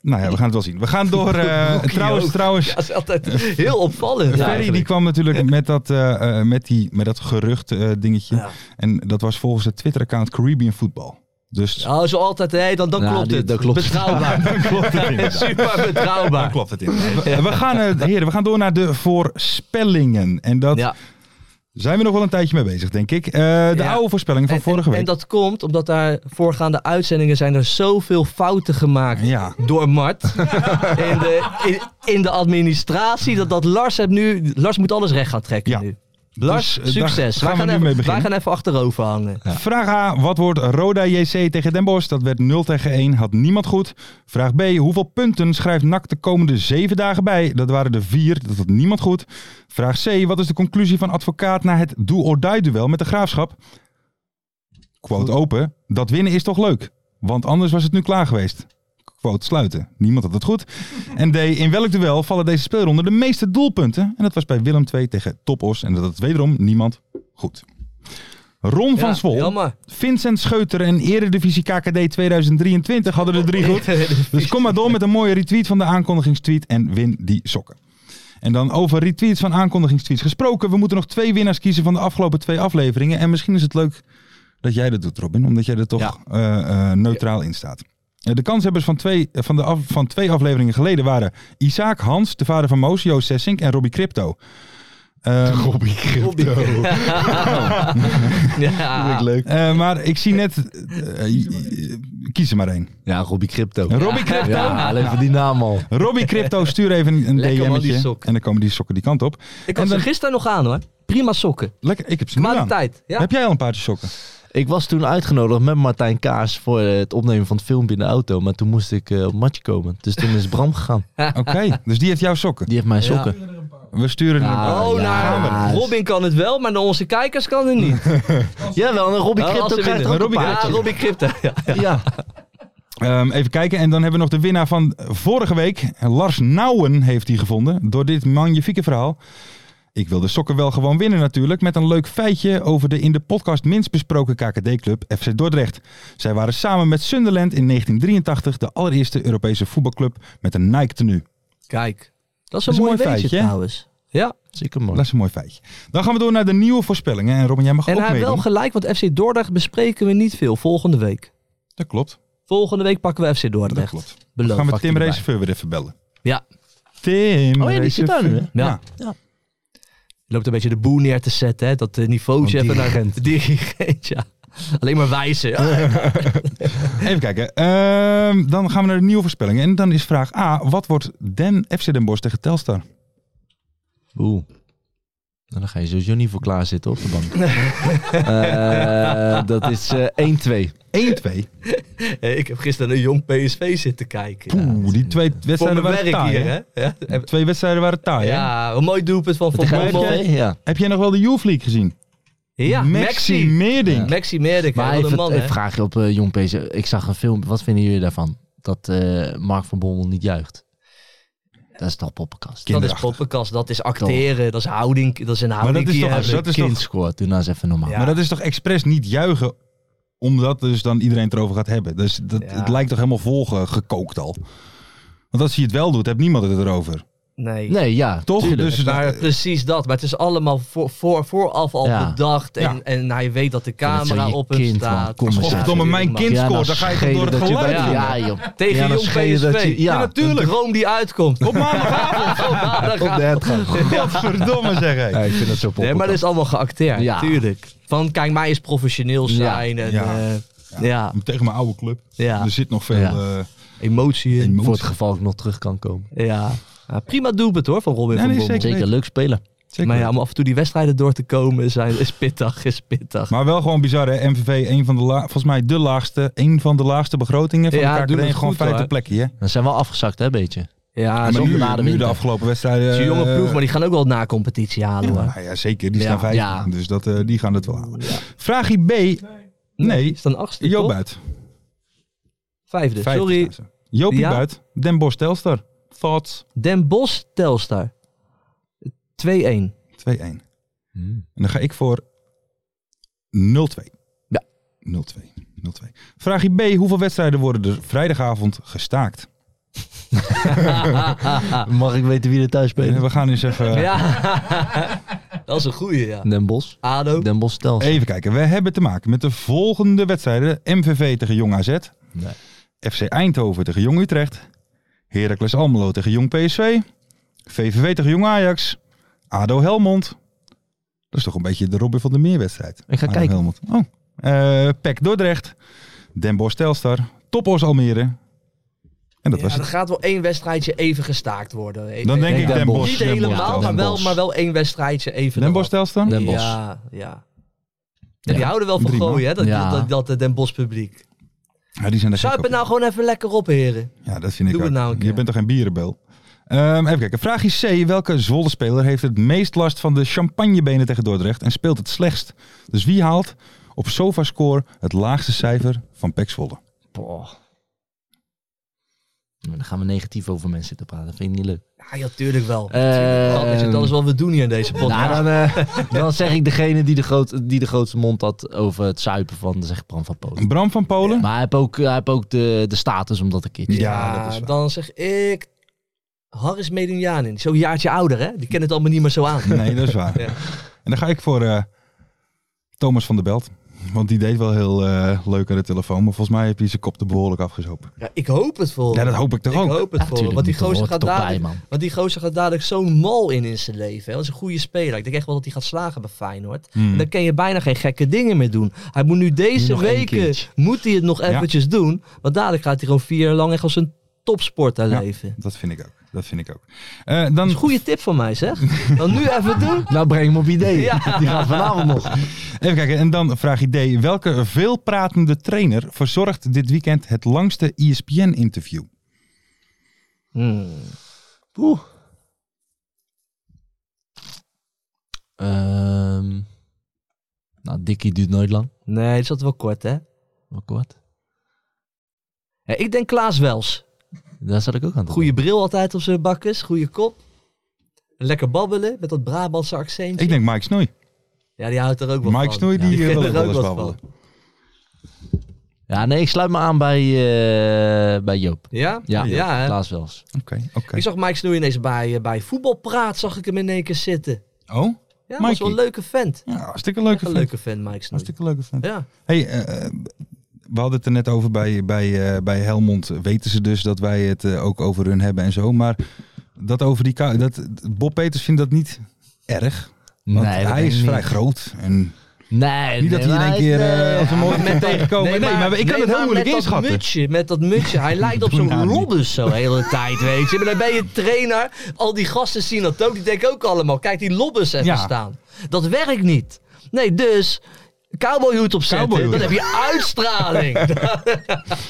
C: nou ja, we gaan het wel zien. We gaan door... eh, trouwens,
D: ook.
C: trouwens...
D: Ja, dat is altijd heel opvallend.
C: Ferry die
D: eigenlijk.
C: kwam natuurlijk met dat, eh, eh, met die, met dat gerucht eh, dingetje.
D: Ja.
C: En dat was volgens het Twitter-account Caribbean Football. Dus
D: Oh, zo altijd, hé, dan, dan
E: Ja,
D: klopt
E: die-
D: het.
E: dan klopt het.
D: betrouwbaar.
C: klopt het inderdaad.
D: Super betrouwbaar.
C: Klopt het inderdaad. We, we gaan, eh, heren, we gaan door naar de voorspellingen. En dat
D: Ja.
C: zijn we nog wel een tijdje mee bezig, denk ik. Eh, de
D: Ja.
C: oude voorspellingen van
D: En-
C: vorige
D: en,
C: week.
D: En dat komt omdat daar voorgaande uitzendingen zijn er zoveel fouten gemaakt
C: Ja.
D: door Mart. in, de, in, in de administratie. Dat, dat Lars, hebt nu, Lars moet alles recht gaan trekken
C: Ja.
D: nu.
C: Dus,
D: Lars,
C: eh, daar
D: succes.
C: Gaan
D: wij,
C: we
D: gaan even,
C: nu mee
D: wij
C: beginnen.
D: gaan even achterover hangen.
C: Vraag A. Wat wordt Roda JC tegen Den Bosch? Dat werd 0 tegen 1. Had niemand goed. Vraag B. Hoeveel punten schrijft NAC de komende zeven dagen bij? Dat waren er vier. Dat had niemand goed. Vraag C. Wat is de conclusie van advocaat na het do-or-die-duel met de graafschap? Quote open. Dat winnen is toch leuk? Want anders was het nu klaar geweest. Quote sluiten. Niemand had het goed. En D. In welk duel vallen deze speelronde de meeste doelpunten? En dat was bij Willem 2 tegen Topos. En dat had wederom niemand goed. Ron van
D: Ja,
C: Zwol.
D: Jammer.
C: Vincent Scheuter en Eredivisie KKD 2023 hadden er drie goed. Dus kom maar door met een mooie retweet van de aankondigingstweet en win die sokken. En dan over retweets van aankondigingstweets gesproken. We moeten nog twee winnaars kiezen van de afgelopen twee afleveringen. En misschien is het leuk dat jij dat doet, Robin. Omdat jij er toch
E: Ja.
C: eh, eh, neutraal in staat. Eh, De kanshebbers van twee, eh, van, de af- van twee afleveringen geleden waren Isaac Hans, de vader van Moos, Joost Sessink en Robbie Crypto. Ehm,
E: Robbie Crypto.
D: Ja.
E: leuk.
C: eh, maar ik zie net... eh, eh, kies er maar één.
E: Ja, Robbie Crypto.
C: Robbie Crypto?
E: Ja, alleen voor die naam al.
C: Robbie Crypto, stuur even een- een
D: Lekker man, die
C: DM'tje.
D: sok.
C: En dan komen die sokken die kant op.
D: Ik had
C: En
D: ze
C: dan-
D: gisteren nog aan hoor. Prima sokken.
C: Lekker, ik heb ze nu aan.
D: Kwaliteit. Ja.
C: Heb jij al een paardje sokken?
E: Ik was toen uitgenodigd met Martijn Kaas voor eh, het opnemen van het filmpje in de auto. Maar toen moest ik eh, op matje komen. Dus toen is Bram gegaan.
C: Oké, dus die heeft jouw sokken.
E: Die heeft mijn sokken.
C: We sturen hem.
E: Ah,
D: oh,
E: ja.
D: nou, Robin kan het wel, maar naar onze kijkers kan
C: Hm.
D: het niet.
E: Jawel, een Robbie
D: Nou, als
E: Crypto
D: ze
E: krijgt
D: winnen.
E: ook een
D: Ja,
E: paardje.
D: Robbie Crypto. Ja.
E: Ja.
C: Ehm, even kijken. En dan hebben we nog de winnaar van vorige week. Lars Nouwen heeft die gevonden. Door dit magnifieke verhaal. Ik wil de sokken wel gewoon winnen natuurlijk. Met een leuk feitje over de in de podcast minst besproken KKD-club FC Dordrecht. Zij waren samen met Sunderland in 1983 de allereerste Europese voetbalclub met een Nike-tenue.
D: Kijk, dat is
C: Dat
D: een,
C: is een
D: mooi
C: mooi
D: weetje
C: feitje, hè?
D: trouwens. Ja,
E: Zeker
C: Dat
E: mooi.
C: is een mooi feitje. Dan gaan we door naar de nieuwe voorspellingen. En Robin, jij mag
D: en
C: ook
D: hij heeft
C: meedoen.
D: wel gelijk, want FC Dordrecht bespreken we niet veel volgende week.
C: Dat klopt.
D: Volgende week pakken we FC
C: Dat
D: Dordrecht.
C: klopt.
D: Beloofd.
C: gaan we
E: fuck
C: Tim
E: erbij.
C: Reserveur weer even bellen.
D: Ja.
C: Tim
E: Oh ja, die zit daar nu, hè?
C: Reserveur. Ja.
D: Je loopt een beetje de boel neer te zetten, hè? dat eh, niveautje
E: Want
D: even naar
E: dirigent.
D: de dirigent. Ja. Alleen maar wijzen.
C: Even kijken. Ehm, dan gaan we naar de nieuwe voorspellingen. En dan is vraag A. Wat wordt Den FC Den Bosch tegen Telstar?
E: Oeh. Nou, dan ga je sowieso niet voor klaar zitten op de bank. Eh, dat is eh, 1-2.
C: 1-2.
D: Eh, Ik heb gisteren een jong PSV zitten kijken. Ja.
C: Poeh, die twee
D: Voor
C: wedstrijden
D: mijn
C: waren
D: werk
C: taai.
D: hier,
C: hè?
D: hè? Ja.
C: Twee wedstrijden waren taai. hè?
D: Ja, een mooi doelpunt van Van
C: Gaal
D: Bommel.
C: heb jij-
E: Ja.
C: Heb jij nog wel de Youth League gezien?
D: Ja,
C: Maxi
D: Maxi.
C: Meerding.
D: Maxi Meerdink,
E: Maar
D: hè, wat
E: even,
D: een man,
E: even
D: hè?
E: vraag je op eh, Jong PC. Ik zag een film. Wat vinden jullie daarvan? Dat eh, Mark van Bommel niet juicht. Dat is toch poppenkast.
D: Dat is
C: kinderachtig.
D: poppenkast, dat is acteren, dat is houding, dat is een houding.
C: is
D: die
C: toch-
D: je
E: Als
D: hebt.
E: je
C: dat is
E: kind
C: toch-
E: scoort, doe nou eens even normaal.
D: Ja.
C: Maar dat is toch expres niet juichen omdat dus dan iedereen het erover gaat hebben. Dus dat,
D: Ja.
C: het lijkt toch helemaal volgekookt al. Want als hij het wel doet, heeft niemand het erover.
D: Nee.
E: Nee, ja.
C: Toch?
E: tuurlijk.
C: Dus
D: Maar precies dat. Maar het is allemaal voor, voor, vooraf al
E: Ja.
D: bedacht. En,
C: Ja.
D: en hij weet dat de
E: vind het zo
D: camera
E: je
D: op hem
E: kind, man.
D: staat.
E: Kom
D: Ja,
E: eens even.
C: Goddomme, mijn
D: man.
C: kind
E: Ja,
C: scoort, dan ga je toch
E: schelen
C: door het
E: dat je
C: geluid
E: bij-
C: doen.
E: Ja, joh.
D: Tegen
E: ja, dan
D: Jong
E: schelen dat
D: PSV.
E: je- ja,
C: Ja,
D: Een
C: natuurlijk.
D: droom die uitkomt.
C: Op maandagavond.
D: Op maandagavond.
C: Godverdomme zeg hé.
E: Ja, ik vind dat zo
D: Nee, maar dat is allemaal geacteerd.
E: Ja.
D: Tuurlijk. Van kijk, mij is professioneel zijn. En,
C: Ja.
D: eh, ja.
C: Tegen mijn oude club.
D: Ja.
C: Er zit nog veel...
E: Ja.
C: eh,
D: emotie in.
C: Emo-
E: Voor het geval ik nog terug kan komen.
D: Ja. Ja, prima doelpunt hoor van Robin
C: Ja,
D: van
C: nee,
D: Bommel.
C: zeker.
E: Zeker, leuk spelen.
C: zeker.
D: Maar ja, om af en toe die wedstrijden door te komen zijn, is pittig, is pittig.
C: Maar wel gewoon bizar hè. MVV, een van de la- volgens mij de laagste, een van de laagste begrotingen van
D: Ja,
C: elkaar.
D: doen
C: KKD.
D: het
C: Gewoon
D: goed,
C: vijfde
D: hoor.
C: plekje hè.
E: Dan zijn we wel afgezakt, hè, beetje.
D: ja,
C: maar
D: zo'n
C: nu,
E: na de
C: nu de
E: winter.
C: afgelopen wedstrijden...
D: is een jonge
C: eh,
D: ploeg, maar die gaan ook wel na competitie halen hoor.
C: Nou ja, zeker. Die
D: Ja.
C: staan vijfde.
E: Ja.
C: Dus dat, eh, die gaan het wel halen. Vraagje B. Nee.
D: Die staan achtste,
C: Joop
D: toch?
C: Buit.
D: Vijfde,
C: Vijfde
D: sorry.
C: staan ze. Jopie
D: Ja.
C: Buit. Den Bosch Telstar. Thoughts. 2-1.
D: Den Bos, Telstar. 2-1.
C: En dan ga ik voor 0-2.
D: Ja.
C: 0-2. 0-2. Vraagje B. Hoeveel wedstrijden worden er vrijdagavond gestaakt?
E: Mag ik weten wie er thuis speelt?
C: Eh, We gaan eens even...
D: Ja, dat is een goeie, ja.
E: Den Bos.
D: Ado.
E: Den Bos Tels.
C: Even kijken, we hebben te maken met de volgende wedstrijden. MVV tegen Jong AZ.
E: Nee.
C: FC Eindhoven tegen Jong Utrecht. Heracles Almelo tegen Jong PSV. VVV tegen Jong Ajax. ADO Helmond. Dat is toch een beetje de Robin van der Meer wedstrijd.
E: Ik ga
C: ADO
E: kijken.
C: Helmond. Oh. Eh PEC Dordrecht. Den Bosch Telstar. Topos Almere. En dat was
D: Ja, er
C: het.
D: gaat wel één wedstrijdje even gestaakt worden. Even-
C: Dan denk
E: denk
C: ik
E: Den
C: Den
E: Bosch.
C: Bosch.
D: Niet
C: Den Bosch
D: helemaal,
C: Telstar.
D: maar
E: Den
D: wel,
E: Bosch.
D: maar wel één wedstrijdje even.
C: Den
D: erop.
C: Bosch Telstar?
E: Den Bosch.
D: Ja, ja. En Die
E: Ja.
D: houden wel van
C: Drie man.
D: gooien, hè, dat,
E: Ja.
D: dat, dat, dat Den Bos publiek.
C: Ja, die zijn er gek
D: Zuip
C: op.
D: het nou gewoon even lekker op, heren.
C: Ja, dat vind ik
D: Doe
C: ook.
D: het nou een
C: Je
D: keer.
C: bent toch geen bierenbel? Ehm, even kijken. Vraagje C. Welke Zwolle-speler heeft het meest last van de champagnebenen tegen Dordrecht en speelt het slechtst? Dus wie haalt op SofaScore het laagste cijfer van Pek Zwolle?
E: Boah. Dan gaan we negatief over mensen zitten praten. Dat vind ik niet leuk.
D: Ja, ja, tuurlijk wel.
E: Eh,
D: Tuurlijk wel. Dat is- dat is wat we doen hier in deze podcast.
E: Nou, dan, eh, dan zeg ik degene die de, groot, die de grootste mond had over het zuipen van, dan zeg ik Bram van Polen.
C: Bram van Polen?
E: Maar hij heeft ook, hij heeft ook de, de status om dat een keertje
C: Ja.
E: te
D: Ja,
C: dat is waar.
D: dan zeg ik Harris Medunjanin. Zo'n jaartje ouder, hè? Die kent het allemaal niet meer zo aan.
C: Nee, dat is waar.
D: Ja.
C: En dan ga ik voor eh, Thomas van der Belt. Want die deed wel heel eh, leuk aan de telefoon. Maar volgens mij heeft hij zijn kop er behoorlijk afgezopen.
D: Ja, ik hoop het voor
C: Ja,
D: hem.
C: dat hoop ik toch
D: Ik
C: ook.
D: hoop het voor hem.
E: natuurlijk
D: Want die,
E: niet, dat
D: gozer
E: hoort
D: gaat
E: er toch bij,
D: dadelijk,
E: man.
D: want die gozer gaat dadelijk zo'n mal in in zijn leven. Hè? Dat is een goede speler. Ik denk echt wel dat hij gaat slagen bij Feyenoord.
C: Hmm.
D: En Dan kan je bijna geen gekke dingen meer doen. Hij moet nu deze
E: nog één
D: weken,
E: keertje.
D: moet hij het nog
C: Ja.
D: eventjes doen. Want dadelijk gaat hij gewoon vier jaar lang echt als een topsporter
C: Ja.
D: leven.
C: Dat vind ik ook. Dat vind ik ook. Eh, dan,
D: Dat is een goede tip van mij, zeg. Dan nu even doen.
E: Nou, breng hem op idee.
D: Ja.
E: Die gaat vanavond nog.
C: Even kijken. En dan vraag idee. Welke veelpratende trainer verzorgt dit weekend het langste E ESPN-interview?
D: Hmm.
E: Oeh. Ehm, nou, Dikkie duurt nooit lang.
D: Nee, dat zat wel kort, hè?
E: Wel kort.
D: Ja, ik denk Klaas Wels.
E: Daar zat ik ook aan te
D: Goede bril altijd op zijn bakkes. Goede kop. Lekker babbelen met dat Brabantse accentje.
C: Ik denk Mike Snoei.
D: Ja, die houdt er ook wel van.
C: Mike Snoei,
D: Ja,
C: die, eh,
D: kent
C: wil
D: er
C: wel
D: ook
C: eens
D: wat
C: babbelen.
D: van.
E: Ja, nee, ik sluit me aan bij, eh, bij Joop.
D: Ja?
E: Ja,
D: ja hè?
E: Klaas Wels.
C: Oké, oké.
D: Ik zag Mike Snoei ineens bij, eh, bij voetbalpraat, zag ik hem in één keer zitten.
C: Oh?
D: Ja, dat was wel een
C: Mikey.
D: leuke vent.
C: Ja, hartstikke
D: Echt
C: leuke
D: een
C: vent.
D: leuke vent, Mike Snoei.
C: Hartstikke leuke vent.
D: Ja.
C: Hey, eh, eh, we hadden het er net over bij, bij, eh, bij Helmond. Weten ze dus dat wij het eh, ook over hun hebben en zo. Maar dat over die kou- dat Bob Peters vindt dat niet erg. Want
E: dat
C: hij
E: denk
C: is
E: ik
C: vrij
E: niet.
C: groot. En
E: Nee,
C: niet dat
E: nee,
C: hij in één
E: maar
C: keer
E: hij is-
C: eh,
E: nee.
C: als een mooi met tegenkomen. Nee, maar, ik kan
D: nee,
C: het heel
D: maar
C: moeilijk
D: met
C: inschatten.
D: Dat mutsje, met dat mutsje. Hij lijkt op
C: Doe
D: zo'n
C: nou niet.
D: Robbers zo de hele tijd, weet je. Maar dan ben je trainer. Al die gasten zien dat ook. Die denken ook allemaal. Kijk, die Lobbes even
C: Ja.
D: staan. Dat werkt niet. Nee, dus... Cowboyhoed opzetten,
C: Cowboyhoed.
D: dan heb je uitstraling.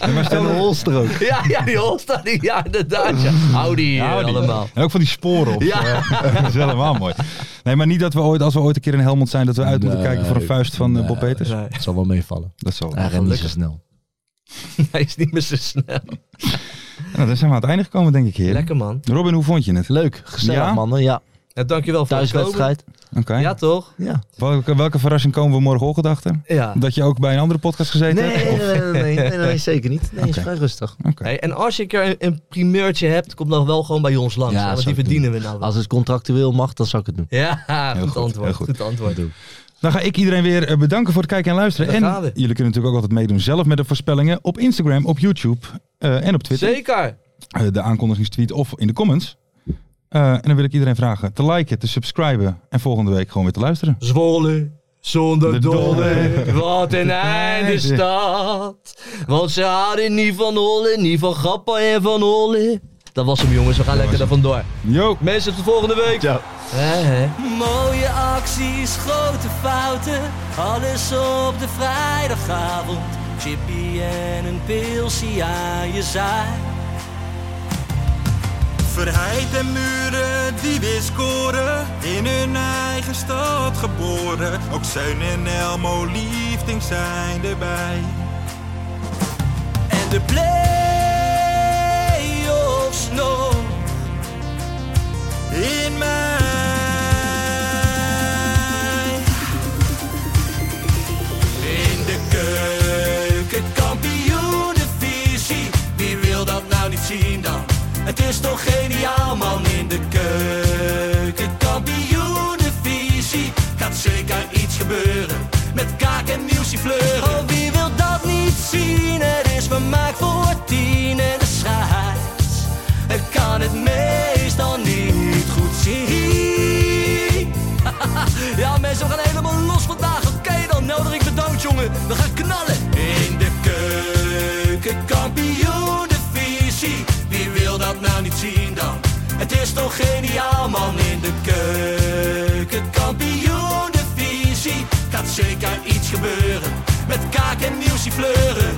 E: En een holster ook.
D: ja, ja, die Holstein, die- ja, inderdaad. Ja. Hou die hier
C: Ja, die-
D: allemaal.
C: En ook van die sporen op.
D: Ja.
C: eh, dat is helemaal mooi. Nee, maar niet dat we ooit, als we ooit een keer in Helmond zijn, dat we uit moeten
E: Nee,
C: kijken voor een vuist van eh,
E: nee.
C: Bob Peters.
E: Het zal wel meevallen.
C: Dat zal.
E: Hij rent niet zo
D: gelukkig.
E: snel.
D: Hij is niet meer zo snel.
C: Nou, dan zijn we aan het einde gekomen, denk ik, heren.
D: Lekker man.
C: Robin, hoe vond je het?
E: Leuk, gezellig
C: Ja?
E: mannen. Ja,
D: Ja, dankjewel voor het komen.
E: thuiswedstrijd.
C: Oké.
D: Ja toch?
E: Ja.
C: Welke, welke verrassing komen we morgenochtend achter?
D: Ja.
C: Dat je ook bij een andere podcast gezeten
E: Nee, nee,
C: hebt? Of-
E: nee, nee, nee, nee, zeker niet. Nee, is
C: Oké.
E: vrij rustig.
C: Oké.
D: Hey, en als je een keer een, een primeurtje hebt, kom dan wel gewoon bij ons langs.
E: Ja,
D: hè, want
E: zou
D: die
E: ik doen.
D: verdienen we nou wel.
E: Als het contractueel mag, dan zou ik het doen.
D: Ja,
C: Heel
D: goed,
C: goed,
D: antwoord.
C: heel
D: Goed.
C: goed.
D: antwoord.
C: Dan ga ik iedereen weer eh, bedanken voor het kijken en luisteren.
D: Daar gaan
C: en
D: we.
C: jullie kunnen natuurlijk ook altijd meedoen zelf met de voorspellingen op Instagram, op YouTube eh, en op Twitter.
D: Zeker.
C: Eh, de aankondigingstweet of in de comments. Eh, en dan wil ik iedereen vragen te liken, te subscriben en volgende week gewoon weer te luisteren.
D: Zwolle,
C: De
D: zonder
C: dolle.
D: dolle, wat een einde
C: einde.
D: stad. Want ze hadden niet van Holle, niet van Grappa en van Holle. Dat was hem jongens, we gaan lekker er vandoor.
C: Yo!
D: Mensen, tot volgende week.
E: Ciao.
D: Hè, hè.
A: Mooie acties, grote fouten, alles op de vrijdagavond. Chippy en een pilsie aan je zaai.
B: Verheid en muren die weer scoren, in hun eigen stad geboren. Ook Zijn en Elmo liefding zijn erbij.
A: En de play-offs nog
B: In mij.
A: in de keuken, kampioenenvisie. Wie wil dat nou niet zien dan? Het is toch geniaal man in de keuken, kampioenenvisie. Gaat zeker iets gebeuren met kaak en nieuwsje fleuren. Oh, wie wil dat niet zien? Het is vermaakt voor tien en de scheids. Ik kan het meestal niet goed zien. Ja, mensen, we gaan helemaal los vandaag. Oké, dan nodig ik de dood, jongen. We gaan knallen. In de keuken, kampioen, de visie. Wie wil dat nou niet zien dan? Het is toch geniaal, man. In de keuken, kampioen, de visie. Gaat zeker iets gebeuren. Met kaak en nieuwsie fleuren.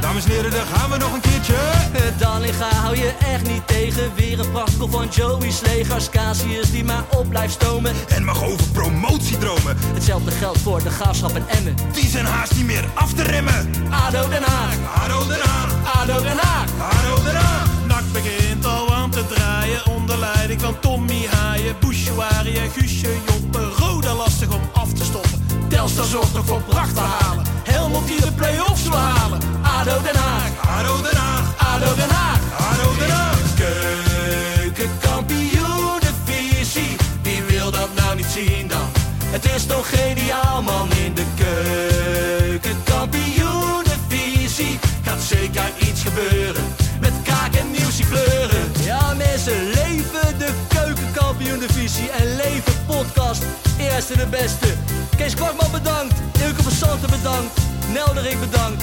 B: Dames en heren, daar gaan we nog een keertje.
A: Eh, Dallinga hou je echt niet tegen. Weer een prachtkel van Joey's legers. Casius die maar op blijft stomen.
B: En mag over promotiedromen,
A: Hetzelfde geldt voor de graafschap en Emmen.
B: die zijn haast niet meer af te remmen.
A: ADO Den Haag,
B: Haro eraan,
A: ADO Den Haag.
B: haro eraan.
H: Nak begint al aan te draaien onder
A: begeleiding van Tommy Haaien, Bouchouari en Guusje Joppen. Roda lastig om af te stoppen. Telstar zorgt nog voor pracht te halen. Helmond die de play-offs wil halen. ADO Den Haag. ADO Den Haag. ADO Den Haag. ADO Den Haag. Keukenkampioen de visie. Wie wil dat nou niet zien dan? Het is toch geniaal man in de keukenkampioen de visie. Gaat zeker iets gebeuren. Met kaak en nieuws die kleuren. Ja mensen, leven de keukenkampioen divisie. En leven podcast. Eerste de beste. Kees Kwakman bedankt. Ilke van Santen bedankt. Nelderik bedankt.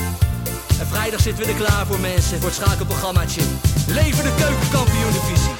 A: En vrijdag zitten we er klaar voor mensen, voor het schakelprogrammaatje. Leven de keukenkampioen divisie.